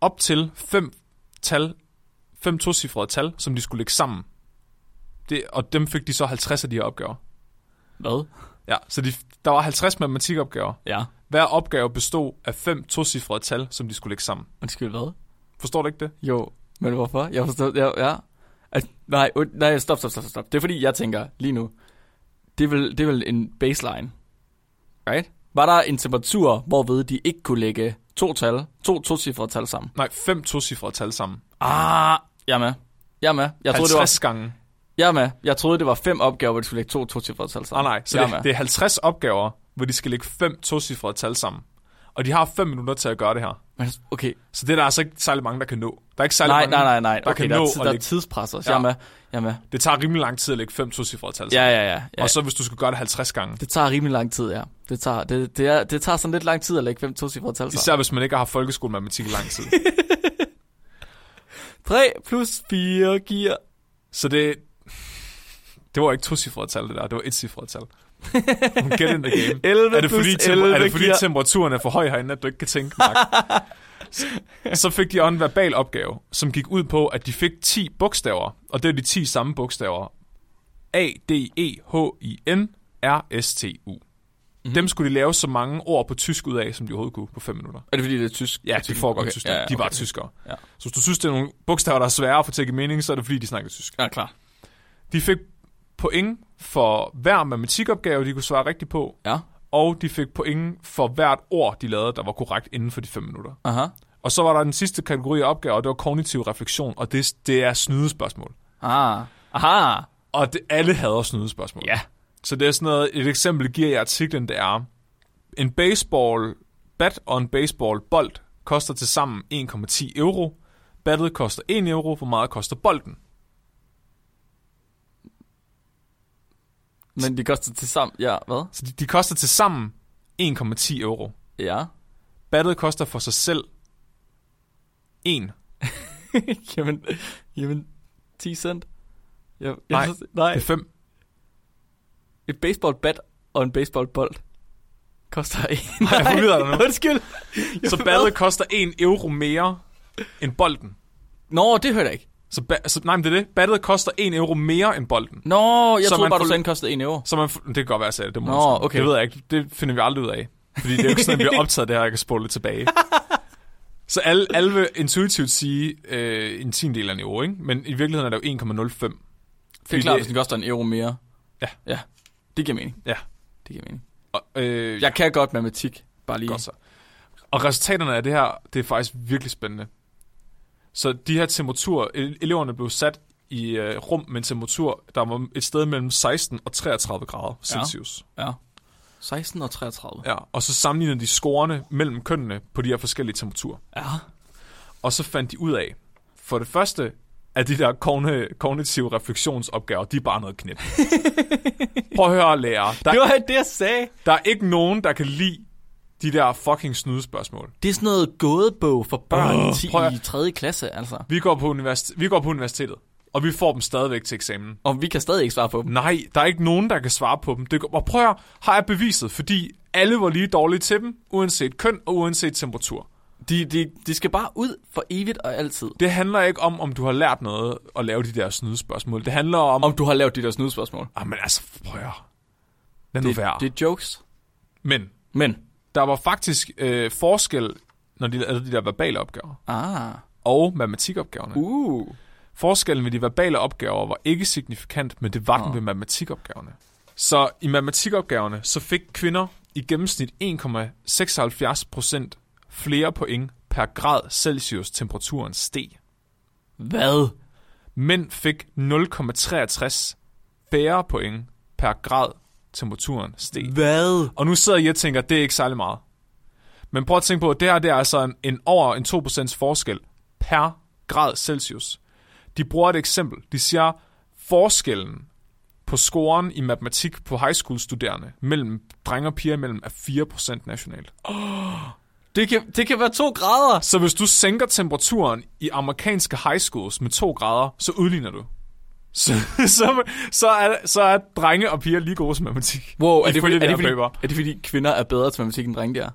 [SPEAKER 1] op til fem tal, fem tocifrede tal, som de skulle lægge sammen. Det, og dem fik de så 50 af de her opgaver.
[SPEAKER 2] Hvad?
[SPEAKER 1] Ja, så de, der var 50 matematikopgaver.
[SPEAKER 2] Ja.
[SPEAKER 1] Hver opgave bestod af fem tocifrede tal, som de skulle lægge sammen.
[SPEAKER 2] Undskyld, hvad?
[SPEAKER 1] Forstår du ikke det?
[SPEAKER 2] Jo, men hvorfor? Jeg forstår, jeg, ja. At, nej, und- nej, stop, stop, stop, stop. Det er fordi, jeg tænker lige nu, det er vel, det er vel en baseline, right? Var der en temperatur, hvorved de ikke kunne lægge to tal, to tocifrede tal sammen?
[SPEAKER 1] Nej, fem tocifrede tal sammen.
[SPEAKER 2] Ah, jeg er med. Jeg er med. Jeg troede, det var,
[SPEAKER 1] 50 gange.
[SPEAKER 2] jeg er med. Jeg troede, det var fem opgaver, hvor du skulle lægge to to cifre tal
[SPEAKER 1] Ah, Nej,
[SPEAKER 2] sammen.
[SPEAKER 1] nej. Så
[SPEAKER 2] jeg
[SPEAKER 1] det,
[SPEAKER 2] er med.
[SPEAKER 1] det er 50 opgaver, hvor de skal lægge fem tocifrede tal sammen. Og de har 5 minutter til at gøre det her.
[SPEAKER 2] Men, okay,
[SPEAKER 1] Så det er der altså ikke særlig mange, der kan nå. Der er ikke særlig
[SPEAKER 2] nej,
[SPEAKER 1] mange,
[SPEAKER 2] nej, nej, nej.
[SPEAKER 1] der
[SPEAKER 2] okay,
[SPEAKER 1] kan
[SPEAKER 2] der,
[SPEAKER 1] nå
[SPEAKER 2] er,
[SPEAKER 1] at
[SPEAKER 2] der er
[SPEAKER 1] lægge-
[SPEAKER 2] tidspres også.
[SPEAKER 1] Ja. Altså-
[SPEAKER 2] Jeg er med. Jeg er med.
[SPEAKER 1] Det tager rimelig lang tid at lægge 5 tocifrede tal.
[SPEAKER 2] Ja, ja, ja. ja.
[SPEAKER 1] Og så hvis du skal gøre det 50 gange.
[SPEAKER 2] Det tager rimelig lang tid, ja. Det tager, det, det, er, det tager sådan lidt lang tid at lægge fem tocifrede tal sammen.
[SPEAKER 1] Især hvis man ikke har haft folkeskolematematik i lang tid.
[SPEAKER 2] 3 plus 4 giver...
[SPEAKER 1] så det... Det var ikke tocifrede tal, det der. Det var et cifrede tal. Get in the game.
[SPEAKER 2] 11
[SPEAKER 1] Er det fordi,
[SPEAKER 2] plus
[SPEAKER 1] temper-
[SPEAKER 2] 11
[SPEAKER 1] er det fordi
[SPEAKER 2] giver...
[SPEAKER 1] temperaturen er for høj herinde, at du ikke kan tænke, Mark? Så- Så fik de også en verbal opgave, som gik ud på, at de fik 10 bogstaver, og det er de 10 samme bogstaver. A, D, E, H, I, N, R, S, T, U. Mm-hmm. Dem skulle de lave så mange ord på tysk ud af, som de overhovedet kunne på 5 minutter.
[SPEAKER 2] Er det fordi, det er tysk?
[SPEAKER 1] Ja, de foregår okay. i Tyskland. Ja, De var
[SPEAKER 2] okay.
[SPEAKER 1] tyskere.
[SPEAKER 2] Ja.
[SPEAKER 1] Ja. Så hvis du synes, det er nogle bogstaver, der er svære at få til at give mening, så er det fordi, de snakker tysk.
[SPEAKER 2] Ja, klar.
[SPEAKER 1] De fik point for hver matematikopgave, de kunne svare rigtigt på,
[SPEAKER 2] Ja.
[SPEAKER 1] og de fik point for hvert ord, de lavede, der var korrekt inden for de 5 minutter.
[SPEAKER 2] Aha.
[SPEAKER 1] Og så var der den sidste kategori af opgaver, og det var kognitiv refleksion, og det, det er snydespørgsmål.
[SPEAKER 2] Ah. Aha.
[SPEAKER 1] Og det, alle havde snydespørgsmål.
[SPEAKER 2] Ja.
[SPEAKER 1] Så det er sådan noget, et eksempel giver jeg i artiklen, det er, en baseball bat og en baseball bold koster til sammen 1,10 euro. Battet koster 1 euro, hvor meget koster bolden?
[SPEAKER 2] Men de koster til sammen... Ja, hvad?
[SPEAKER 1] Så de, de koster til sammen 1,10 euro.
[SPEAKER 2] Ja.
[SPEAKER 1] Battet koster for sig selv 1.
[SPEAKER 2] jamen, jamen, 10 cent? Jeg,
[SPEAKER 1] Nej.
[SPEAKER 2] synes- nej.
[SPEAKER 1] Det er 5.
[SPEAKER 2] Et baseballbat og en baseballbold koster en.
[SPEAKER 1] Nej, jeg forvirrer dig nu.
[SPEAKER 2] Undskyld.
[SPEAKER 1] Så battet koster 1 euro mere end bolden.
[SPEAKER 2] Nå, det hørte jeg ikke.
[SPEAKER 1] Så, ba- så nej, men det er det. Battet koster 1 euro mere end bolden.
[SPEAKER 2] Nå, jeg
[SPEAKER 1] Så
[SPEAKER 2] troede
[SPEAKER 1] man
[SPEAKER 2] bare, du
[SPEAKER 1] får-
[SPEAKER 2] sagde, den kostede 1 euro.
[SPEAKER 1] Så man, f- det kan godt være, at jeg sagde det. Det, må
[SPEAKER 2] Nå,
[SPEAKER 1] jeg sige.
[SPEAKER 2] okay.
[SPEAKER 1] det ved jeg ikke. Det finder vi aldrig ud af. Fordi det er jo ikke sådan, at vi har optaget det her, og jeg kan spole det tilbage. Så alle, alle vil intuitivt sige øh, en tiendel af en euro, ikke? Men i virkeligheden er det jo 1,05.
[SPEAKER 2] Det er
[SPEAKER 1] Fordi
[SPEAKER 2] klart,
[SPEAKER 1] det-
[SPEAKER 2] hvis den koster en euro mere.
[SPEAKER 1] Ja.
[SPEAKER 2] Ja, det giver mening.
[SPEAKER 1] Ja.
[SPEAKER 2] Det giver mening.
[SPEAKER 1] Og, øh,
[SPEAKER 2] Jeg kan godt matematik, bare lige.
[SPEAKER 1] Godt så. Og resultaterne af det her, det er faktisk virkelig spændende. Så de her temperaturer, ele- eleverne blev sat i øh, rum med en temperatur, der var et sted mellem 16 og 33 grader Celsius.
[SPEAKER 2] Ja. 16 og 33.
[SPEAKER 1] Ja. ja. Og så sammenlignede de scorene mellem kønnene på de her forskellige temperaturer.
[SPEAKER 2] Ja.
[SPEAKER 1] Og så fandt de ud af, for det første, at de der kogne- kognitive refleksionsopgaver, de er bare noget knip. Prøv at høre, lærer. Der,
[SPEAKER 2] Det var det, jeg sagde.
[SPEAKER 1] der er ikke nogen, der kan lide de der fucking snydespørgsmål.
[SPEAKER 2] Det er sådan noget gådebog for børn
[SPEAKER 1] Åh,
[SPEAKER 2] i, 10,
[SPEAKER 1] prøv at-
[SPEAKER 2] i 3. klasse, altså.
[SPEAKER 1] Vi går, på universitet, vi går på universitetet, og vi får dem stadigvæk til eksamen.
[SPEAKER 2] Og vi kan stadig ikke svare på dem.
[SPEAKER 1] Nej, der er ikke nogen, der kan svare på dem. Det, går- og prøv at høre, har jeg beviset, fordi alle var lige dårlige til dem, uanset køn og uanset temperatur.
[SPEAKER 2] De, de, de skal bare ud for evigt og altid.
[SPEAKER 1] Det handler ikke om, om du har lært noget at lave de der snydespørgsmål. Det handler om...
[SPEAKER 2] Om du har lavet de der snudspørgsmål.
[SPEAKER 1] Ah, men altså, prøv at høre. Lad nu
[SPEAKER 2] Det,
[SPEAKER 1] være.
[SPEAKER 2] det er jokes.
[SPEAKER 1] Men
[SPEAKER 2] Men.
[SPEAKER 1] der var faktisk øh, forskel, når de lavede de der verbale opgaver
[SPEAKER 2] Ah.
[SPEAKER 1] og matematikopgaverne.
[SPEAKER 2] Uh.
[SPEAKER 1] Forskellen ved de verbale opgaver var ikke signifikant, men det var den ved matematikopgaverne. Så i matematikopgaverne, så fik kvinder i gennemsnit 1,76 procent flere point per grad Celsius temperaturen steg.
[SPEAKER 2] Hvad?
[SPEAKER 1] Mænd fik 0,63 færre point per grad temperaturen steg.
[SPEAKER 2] Hvad?
[SPEAKER 1] Og nu sidder jeg og tænker, at det er ikke særlig meget. Men prøv at tænke på, at det her det er altså en, en over en 2% forskel per grad Celsius. De bruger et eksempel. De siger, forskellen på scoren i matematik på high school studerende mellem drenge og piger mellem er 4% nationalt.
[SPEAKER 2] Det kan, det kan være to grader.
[SPEAKER 1] Så hvis du sænker temperaturen i amerikanske high schools med 2 grader, så udligner du. Så, så, så, er, så er drenge og piger lige gode til matematik.
[SPEAKER 2] Wow, er det, fordi,
[SPEAKER 1] Ifølge
[SPEAKER 2] er,
[SPEAKER 1] det
[SPEAKER 2] det
[SPEAKER 1] her
[SPEAKER 2] fordi,
[SPEAKER 1] paper.
[SPEAKER 2] er det fordi kvinder er bedre til matematik end drenge der?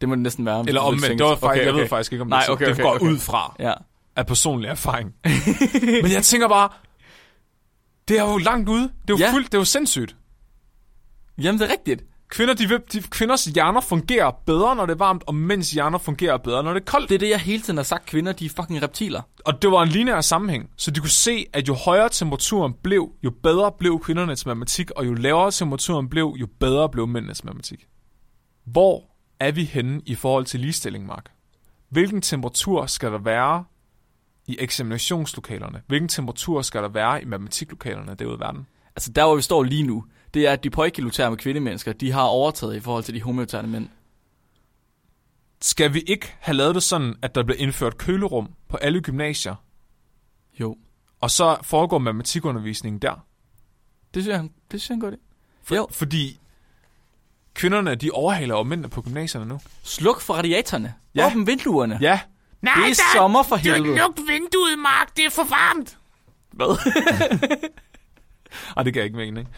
[SPEAKER 2] Det må det næsten være. hvis
[SPEAKER 1] Eller
[SPEAKER 2] du
[SPEAKER 1] omvendt.
[SPEAKER 2] tænker-
[SPEAKER 1] Det var faktisk,
[SPEAKER 2] okay,
[SPEAKER 1] Jeg ved
[SPEAKER 2] okay.
[SPEAKER 1] faktisk ikke, om
[SPEAKER 2] Nej,
[SPEAKER 1] det, er
[SPEAKER 2] okay,
[SPEAKER 1] sådan.
[SPEAKER 2] okay,
[SPEAKER 1] det går
[SPEAKER 2] okay.
[SPEAKER 1] ud fra.
[SPEAKER 2] Ja.
[SPEAKER 1] af personlig erfaring. Men jeg tænker bare, det er jo langt ude. Det er jo
[SPEAKER 2] Ja.
[SPEAKER 1] ja. fuldt, det er jo sindssygt.
[SPEAKER 2] Jamen, det er rigtigt.
[SPEAKER 1] Kvinder, de, vil- de, kvinders hjerner fungerer bedre, når det er varmt, og mænds hjerner fungerer bedre, når det er koldt.
[SPEAKER 2] Det
[SPEAKER 1] Det.
[SPEAKER 2] er det, jeg hele tiden har sagt. Kvinder, de er fucking reptiler.
[SPEAKER 1] Og det var en lineær sammenhæng, så de kunne se, at jo højere temperaturen blev, jo bedre blev kvindernes matematik, og jo lavere temperaturen blev, jo bedre blev mændenes matematik. Hvor er vi henne i forhold til ligestilling, Mark? Hvilken temperatur skal der være i eksaminationslokalerne? Hvilken temperatur skal der være i matematiklokalerne derude i verden?
[SPEAKER 2] Altså, der hvor vi står lige nu, det er, at de poikiloterme kvindemennesker, de har overtaget i forhold til de homoterme mænd.
[SPEAKER 1] Skal vi ikke have lavet det sådan, at der bliver indført kølerum på alle gymnasier,
[SPEAKER 2] Jo.
[SPEAKER 1] og så foregår matematikundervisningen der?
[SPEAKER 2] Det synes jeg, det synes jeg er en god idé.
[SPEAKER 1] For,
[SPEAKER 2] Jo.
[SPEAKER 1] Fordi kvinderne, de overhaler jo mændene på gymnasierne nu.
[SPEAKER 2] Sluk for radiatorerne.
[SPEAKER 1] Ja.
[SPEAKER 2] Ja. Åbn vinduerne. Ja.
[SPEAKER 1] Ja. Nej,
[SPEAKER 2] Det er sommer for helvede.
[SPEAKER 1] vinduet, Mark. Det er for varmt.
[SPEAKER 2] Hvad?
[SPEAKER 1] Ej, det kan jeg ikke mene, ikke?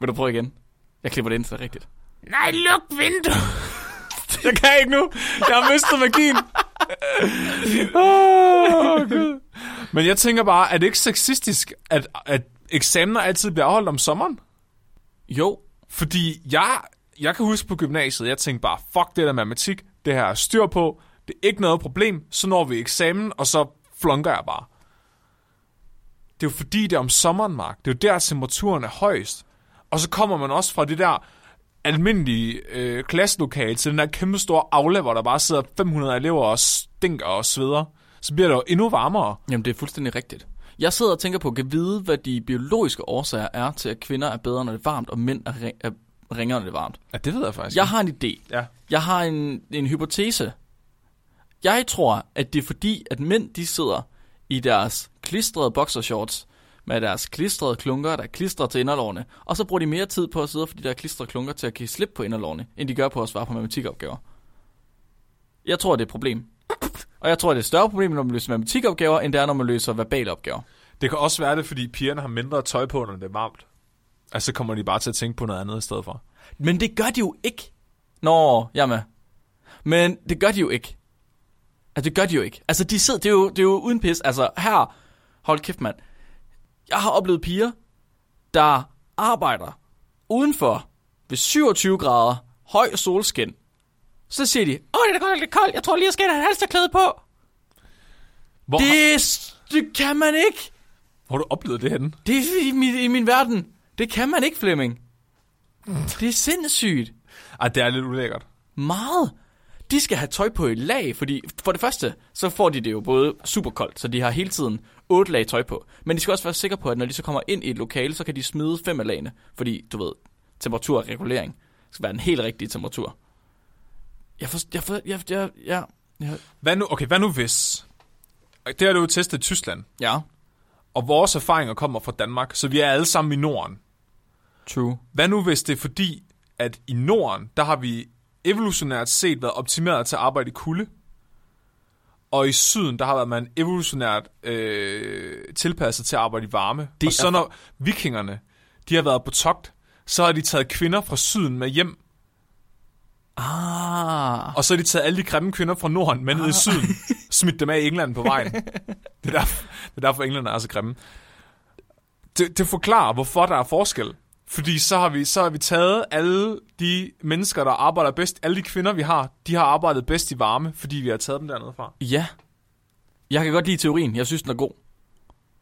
[SPEAKER 2] Vil du prøve igen? Jeg klipper det ind, så det er rigtigt.
[SPEAKER 1] Nej, luk vinduet. jeg kan ikke nu. Jeg har mistet magien. oh, Gud. Men jeg tænker bare, er det ikke sexistisk, at, at eksamener altid bliver afholdt om sommeren?
[SPEAKER 2] Jo.
[SPEAKER 1] Fordi jeg, jeg kan huske på gymnasiet, jeg tænkte bare, fuck det der matematik, det her er styr på, det er ikke noget problem, så når vi eksamen, og så flunker jeg bare. Det er jo fordi, det er om sommeren, Mark. Det er jo der, temperaturen er højst. Og så kommer man også fra det der almindelige øh, klasselokale til den der kæmpe store aula, hvor der bare sidder 500 elever og stinker og sveder. Så bliver det jo endnu varmere.
[SPEAKER 2] Jamen, det er fuldstændig rigtigt. Jeg sidder og tænker på, kan vide, hvad de biologiske årsager er til, at kvinder er bedre, når det er varmt, og mænd er, ri- er ringere, når det er varmt.
[SPEAKER 1] Ja, det ved jeg faktisk.
[SPEAKER 2] Jeg har en idé.
[SPEAKER 1] Ja.
[SPEAKER 2] Jeg har en, en hypotese. Jeg tror, at det er fordi, at mænd de sidder i deres klistrede boxershorts med deres klistrede klunker, der klistrer til inderlårene, og så bruger de mere tid på at sidde fordi der er klistrede klunker til at give slip på inderlårene, end de gør på at svare på matematikopgaver. Jeg tror, det er et problem. Og jeg tror, det er et større problem, når man løser matematikopgaver, end det er, når man løser verbale opgaver.
[SPEAKER 1] Det kan også være det, fordi pigerne har mindre tøj på, når det er varmt. Altså, så kommer de bare til at tænke på noget andet i stedet for.
[SPEAKER 2] Men det gør de jo ikke. Nå, jeg er med. Men det gør de jo ikke. Altså, det gør de jo ikke. Altså, de sidder, det, er jo, det er jo uden pis. Altså, her, hold kæft, mand. Jeg har oplevet piger, der arbejder udenfor ved 27 grader, høj solskin. Så siger de, åh, det er da godt nok lidt koldt, jeg tror lige, jeg skal have et halsterklæde på.
[SPEAKER 1] Hvor, det... har,
[SPEAKER 2] Det, s- det kan man ikke.
[SPEAKER 1] hvor har du oplevet det henne?
[SPEAKER 2] Det er i min, i min verden. Det kan man ikke, Flemming. Det er sindssygt.
[SPEAKER 1] Ej, det er lidt ulækkert.
[SPEAKER 2] Meget. De skal have tøj på i lag, fordi for det første, så får de det jo både super koldt, så de har hele tiden otte lag tøj på. Men de skal også være sikre på, at når de så kommer ind i et lokale, så kan de smide fem af lagene, fordi du ved, temperaturregulering skal være den helt rigtige temperatur. Jeg for, jeg for, jeg, jeg, jeg, jeg,
[SPEAKER 1] Hvad nu, okay, hvad nu hvis? Det har du jo testet i Tyskland,
[SPEAKER 2] ja,
[SPEAKER 1] og vores erfaringer kommer fra Danmark, så vi er alle sammen i Norden.
[SPEAKER 2] true.
[SPEAKER 1] Hvad nu hvis det er fordi, at i Norden, der har vi evolutionært set været optimeret til at arbejde i kulde, og i syden, der har været man evolutionært øh, tilpasset til at arbejde i varme. Det
[SPEAKER 2] Det
[SPEAKER 1] og så
[SPEAKER 2] er-
[SPEAKER 1] når vikingerne, de har været på togt, så har de taget kvinder fra syden med hjem,
[SPEAKER 2] Ah,
[SPEAKER 1] og så har de taget alle de grimme kvinder fra Norden med ned i syden, smidt dem af i England på vejen. Det er derfor, det er derfor englænder er så grimme. Det, det forklarer, hvorfor der er forskel. Fordi så har, vi, så har vi taget alle de mennesker, der arbejder bedst, alle de kvinder, vi har, de har arbejdet bedst i varme, fordi vi har taget dem dernede fra.
[SPEAKER 2] ja. Jeg kan godt lide teorien, jeg synes den er god.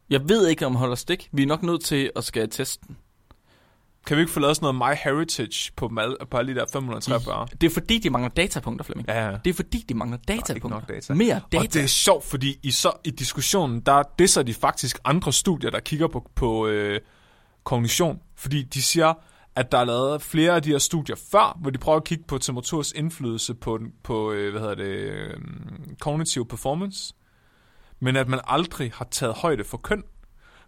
[SPEAKER 2] Jeg ved ikke, om den holder stik. Vi er nok nødt til at skal teste den.
[SPEAKER 1] Kan vi ikke få lavet sådan noget My Heritage på, mal, på alle de der 543?
[SPEAKER 2] Det er fordi, de mangler datapunkter, Flemming.
[SPEAKER 1] Ja, ja.
[SPEAKER 2] Det er fordi, de mangler
[SPEAKER 1] ikke
[SPEAKER 2] datapunkter.
[SPEAKER 1] nok data.
[SPEAKER 2] Mere data.
[SPEAKER 1] Og det er sjovt, fordi i, så, i diskussionen, der disser de faktisk andre studier, der kigger på, på øh, kognition. Fordi de siger, at der er lavet flere af de her studier før, hvor de prøver at kigge på temperaturs indflydelse på, den- på øh, hvad hedder det, øh, kognitiv performance. Men at man aldrig har taget højde for køn.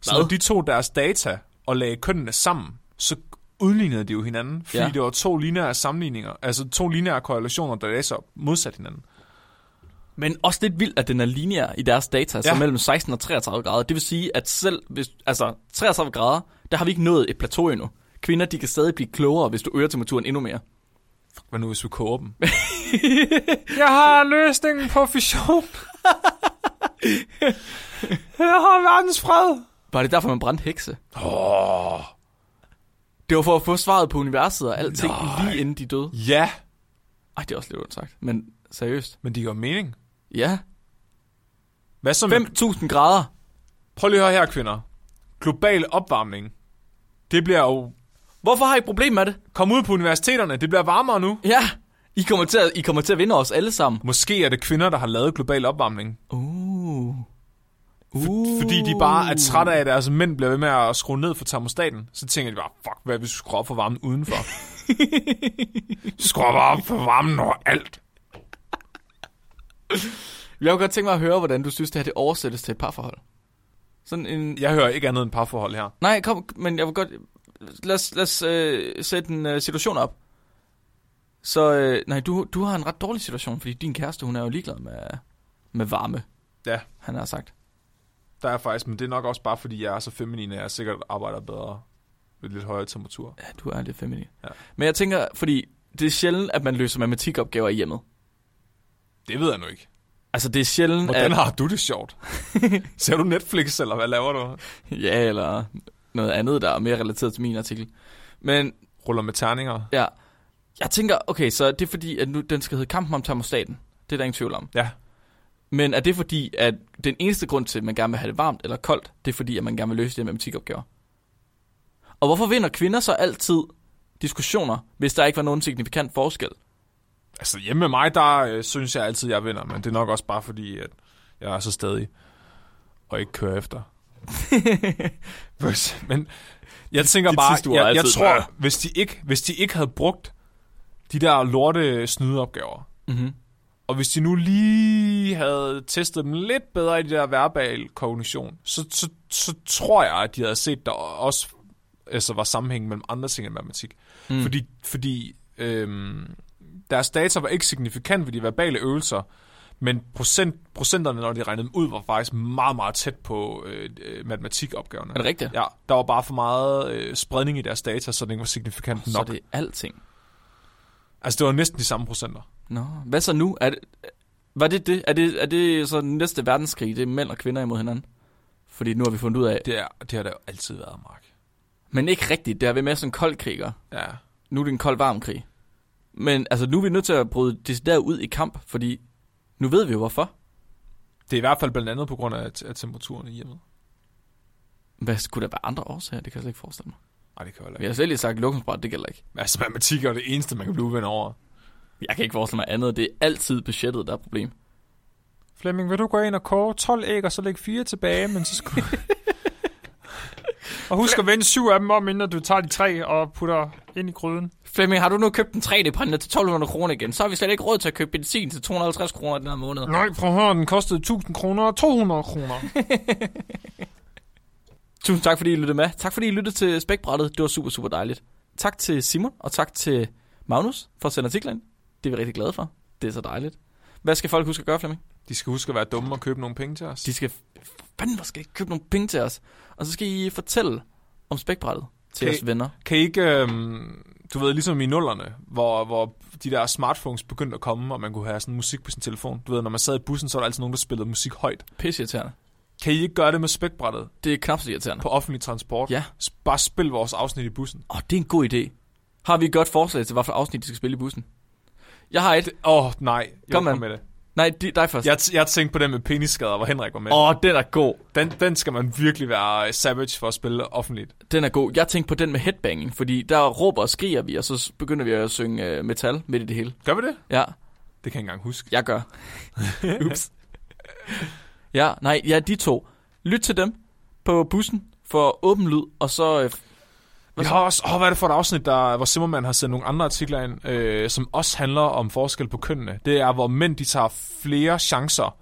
[SPEAKER 1] Så
[SPEAKER 2] Hvad?
[SPEAKER 1] når de tog deres data og lagde kønnene sammen, så udlignede de jo hinanden, fordi ja.
[SPEAKER 2] Ja.
[SPEAKER 1] det var to lineære sammenligninger, altså to lineære korrelationer, der læser modsat hinanden.
[SPEAKER 2] Men også lidt vildt, at den er lineær i deres data, så
[SPEAKER 1] Ja.
[SPEAKER 2] mellem 16 og 33 grader. Det vil sige, at selv hvis, altså 33 grader, der har vi ikke nået et plateau endnu. Kvinder, de kan stadig blive klogere, hvis du øger temperaturen endnu mere.
[SPEAKER 1] Hvad nu, hvis vi koger dem? jeg har løsningen på fission. jeg har verdens fred.
[SPEAKER 2] Var det derfor, man brændte hekse?
[SPEAKER 1] Oh,
[SPEAKER 2] Det var for at få svaret på universet og alting
[SPEAKER 1] Nej.
[SPEAKER 2] Nej. lige inden de døde.
[SPEAKER 1] ja,
[SPEAKER 2] Ej, det er også lidt ondt sagt. Men seriøst.
[SPEAKER 1] men det giver mening.
[SPEAKER 2] Ja.
[SPEAKER 1] Hvad så med...
[SPEAKER 2] 5.000 grader.
[SPEAKER 1] Prøv lige at høre her, kvinder. Global opvarmning. Det bliver jo...
[SPEAKER 2] Hvorfor har I et problem med det?
[SPEAKER 1] Kom ud på universiteterne, det bliver varmere nu.
[SPEAKER 2] Ja. I kommer til at, I kommer til at vinde os alle sammen.
[SPEAKER 1] Måske er det kvinder, der har lavet global opvarmning.
[SPEAKER 2] Uh.
[SPEAKER 1] Uh. Fordi de bare er trætte af, at deres mænd bliver ved med at skrue ned for termostaten. Så tænker de bare, fuck, hvad hvis vi skruer op for varmen udenfor? skruer bare op for varmen over alt.
[SPEAKER 2] Jeg kunne godt tænke mig at høre, hvordan du synes, det her det oversættes til et parforhold. Sådan en...
[SPEAKER 1] Jeg hører ikke andet end parforhold her.
[SPEAKER 2] Nej, kom, men jeg vil godt... Lad os, lad os øh, sætte en øh, situation op. Så, øh, nej, du, du har en ret dårlig situation, fordi din kæreste, hun er jo ligeglad med, med varme,
[SPEAKER 1] Ja,
[SPEAKER 2] han har sagt.
[SPEAKER 1] der er faktisk, men det er nok også bare, fordi jeg er så feminin, at jeg sikkert arbejder bedre ved lidt højere temperatur.
[SPEAKER 2] Ja, du er lidt feminin. Ja.
[SPEAKER 1] Ja.
[SPEAKER 2] Men jeg tænker, fordi det er sjældent, at man løser matematikopgaver i hjemmet.
[SPEAKER 1] Det ved jeg nu ikke.
[SPEAKER 2] Altså, det er sjældent,
[SPEAKER 1] Hvordan
[SPEAKER 2] at...
[SPEAKER 1] har du det sjovt? Ser du Netflix, eller hvad laver du?
[SPEAKER 2] Ja, eller noget andet, der er mere relateret til min artikel. Men
[SPEAKER 1] Ruller med terninger?
[SPEAKER 2] ja, jeg tænker, okay, så det er fordi, at nu den skal hedde Kampen om termostaten. Det er der ingen tvivl om.
[SPEAKER 1] Ja.
[SPEAKER 2] Men er det fordi, at den eneste grund til, at man gerne vil have det varmt eller koldt, det er fordi, at man gerne vil løse de her matematikopgaver? Og hvorfor vinder kvinder så altid diskussioner, hvis der ikke var nogen signifikant forskel?
[SPEAKER 1] Altså hjemme med mig, der øh, synes jeg altid, jeg vinder, men det er nok også bare fordi, at jeg er så stadig og ikke kører efter. Hvis- men jeg tænker
[SPEAKER 2] Dit sidste
[SPEAKER 1] bare,
[SPEAKER 2] ord er
[SPEAKER 1] jeg, jeg
[SPEAKER 2] altid, "Nå."
[SPEAKER 1] tror, hvis de, ikke, hvis de ikke havde brugt de der lorte snydeopgaver,
[SPEAKER 2] Mm-hmm.
[SPEAKER 1] og hvis de nu lige havde testet dem lidt bedre i det der verbal kognition, så, så, så tror jeg, at de havde set, der også altså, var sammenhæng mellem andre ting end matematik.
[SPEAKER 2] Mm.
[SPEAKER 1] Mm. Fordi, fordi øhm, deres data var ikke signifikant ved de verbale øvelser, men procent, procenterne, når de regnede dem ud, var faktisk meget, meget tæt på øh, øh, matematikopgaverne.
[SPEAKER 2] Er det rigtigt?
[SPEAKER 1] Ja, der var bare for meget øh, spredning i deres data, så det ikke var signifikant
[SPEAKER 2] Så er
[SPEAKER 1] nok.
[SPEAKER 2] det
[SPEAKER 1] Det...
[SPEAKER 2] alting.
[SPEAKER 1] Altså, det var næsten de samme procenter.
[SPEAKER 2] Nå, hvad så nu? Er det, var det det? Er det, er det så den næste verdenskrig, det er mænd og kvinder imod hinanden? Fordi nu har vi fundet ud af,
[SPEAKER 1] Det, er, det har der jo altid været, Mark.
[SPEAKER 2] men ikke rigtigt, det har været mere sådan en kold krig, og
[SPEAKER 1] Ja.
[SPEAKER 2] nu er det en kold varm krig. Men altså, nu er vi nødt til at bryde det der ud i kamp, fordi nu ved vi jo hvorfor.
[SPEAKER 1] Det er i hvert fald blandt andet på grund af, af temperaturen i hjemmet.
[SPEAKER 2] Hvad skulle der være andre årsager? Det kan jeg slet ikke forestille mig.
[SPEAKER 1] Nej, det kan jeg heller
[SPEAKER 2] Vi
[SPEAKER 1] ikke.
[SPEAKER 2] har slet ikke sagt luksusbræt, det gælder ikke.
[SPEAKER 1] Altså, matematik er jo det eneste, man kan blive uven over.
[SPEAKER 2] Jeg kan ikke forestille mig andet, det er altid budgettet, der er et problem.
[SPEAKER 1] Flemming, vil du gå ind og koge 12 æg, og så lægge fire tilbage, men så skal Og husk at vende syv af dem om, inden du tager de tre og putter ind i gryden.
[SPEAKER 2] Flemming, har du nu købt en 3D-printer til 1200 kroner igen? Så har vi slet ikke råd til at købe benzin til 250 kroner den her måned.
[SPEAKER 1] Nej, prøv at høre, den kostede 1000 kroner og 200 kroner.
[SPEAKER 2] Tusind tak, fordi I lyttede med. Tak, fordi I lyttede til Spækbrættet. Det var super, super dejligt. Tak til Simon, og tak til Magnus for at sende artiklen. ind. Det er vi rigtig glade for. Det er så dejligt. Hvad skal folk huske at gøre, Flemming?
[SPEAKER 1] De skal huske at være dumme og købe nogle penge til os.
[SPEAKER 2] De skal... Fanden, hvor skal I købe nogle penge til os? Og så skal I fortælle om spækbrættet til
[SPEAKER 1] Okay.
[SPEAKER 2] jeres venner.
[SPEAKER 1] Kan I ikke, øhm, du ved, ligesom i nullerne, hvor, hvor de der smartphones begyndte at komme, og man kunne have sådan musik på sin telefon. Du ved, når man sad i bussen, så var der altid nogen, der spillede musik højt.
[SPEAKER 2] Pisse irriterende.
[SPEAKER 1] Kan I ikke gøre det med spækbrættet
[SPEAKER 2] Det er knap så irriterende.
[SPEAKER 1] på offentlig transport?
[SPEAKER 2] Ja.
[SPEAKER 1] S- Bare spil vores afsnit i bussen.
[SPEAKER 2] Åh, oh, det er en god idé. Har vi et godt forslag til, hvilket afsnit de skal spille i bussen? Jeg har et.
[SPEAKER 1] Åh, oh, nej. Jeg
[SPEAKER 2] Kom,
[SPEAKER 1] vil
[SPEAKER 2] mand.
[SPEAKER 1] komme med det.
[SPEAKER 2] Nej, de, dig først. Åh,
[SPEAKER 1] Jeg, t- jeg tænkte på den med penisskader, hvor Henrik var med.
[SPEAKER 2] ja. oh, den er god.
[SPEAKER 1] Den, den skal man virkelig være savage for at spille offentligt.
[SPEAKER 2] Den er god. Jeg tænkte på den med headbanging, fordi der råber og skriger vi, og så s- begynder vi at synge øh, metal midt i det hele.
[SPEAKER 1] Gør vi det?
[SPEAKER 2] Ja,
[SPEAKER 1] Det kan jeg ikke engang huske.
[SPEAKER 2] jeg gør. Ups. Ja, nej, ja, de to. Lyt til dem på bussen for åben lyd, og så... Øh,
[SPEAKER 1] Vi har også, åh, hvad er det for et afsnit, der, hvor Simmermann har sendt nogle andre artikler ind, øh, som også handler om forskel på kønnene. Det er, hvor mænd de tager flere chancer,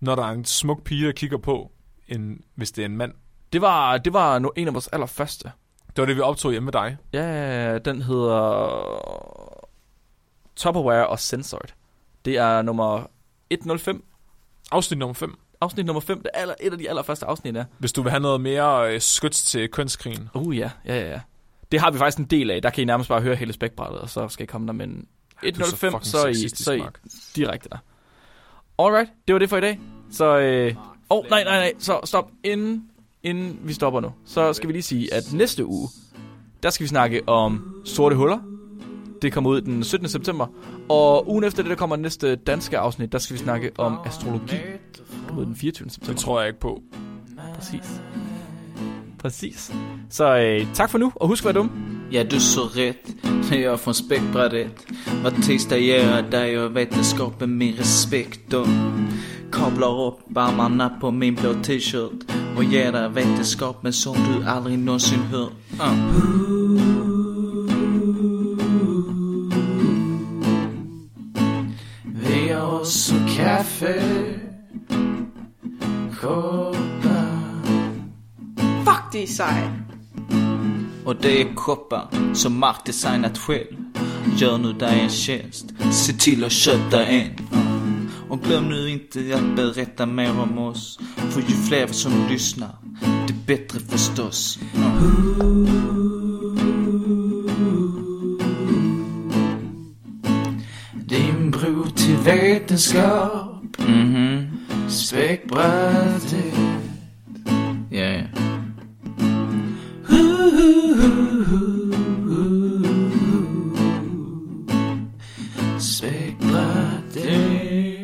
[SPEAKER 1] når der er en smuk pige, der kigger på, end hvis det er en mand.
[SPEAKER 2] det var, det var no, en af vores allerførste.
[SPEAKER 1] Det var det, vi optog hjemme med dig.
[SPEAKER 2] Ja, den hedder... Tupperware og Censored. Det er nummer 105.
[SPEAKER 1] Afsnit nummer 5.
[SPEAKER 2] Afsnit nummer 5, det er aller, et af de allerførste afsnit, er.
[SPEAKER 1] Hvis du vil have noget mere øh, skyts til kønskrigen.
[SPEAKER 2] Uh, ja, ja, ja, ja. Det har vi faktisk en del af. Der kan I nærmest bare høre hele spækbrættet, og så skal I komme der med en 105, så, så, er I, så er I direkte der. Alright, det var det for i dag. Så, øh, oh, nej, nej, nej, så stop. Inden, inden vi stopper nu, så skal vi lige sige, at næste uge, der skal vi snakke om sorte huller. Det kommer ud den 17. september. Og ugen efter det, der kommer næste danske afsnit, der skal vi snakke om astrologi. Det kommer ud den 24. september.
[SPEAKER 1] Det tror jeg ikke på.
[SPEAKER 2] Præcis. Præcis. Så øh, tak for nu, og husk at være dum.
[SPEAKER 3] Ja, du så rätt när jag från spektbrädet Vad tisdag gör jag där jag vetenskapen min respekt och Kablar upp armarna på min blå t-shirt och ger dig vetenskapen som du aldrig någonsin hört uh. Vi är oss så kalla kaffe Kopper
[SPEAKER 4] Fuck, de er seje.
[SPEAKER 3] Och det är koppar som Mark designat själv Gör nu dig en tjänst, se till att köpa en Och glöm nu inte att berätta mer om oss För ju fler som lyssnar, det bättre förstås Din bro till vetenskap Mhm, späckbrödet Ja, ja Svæk blot det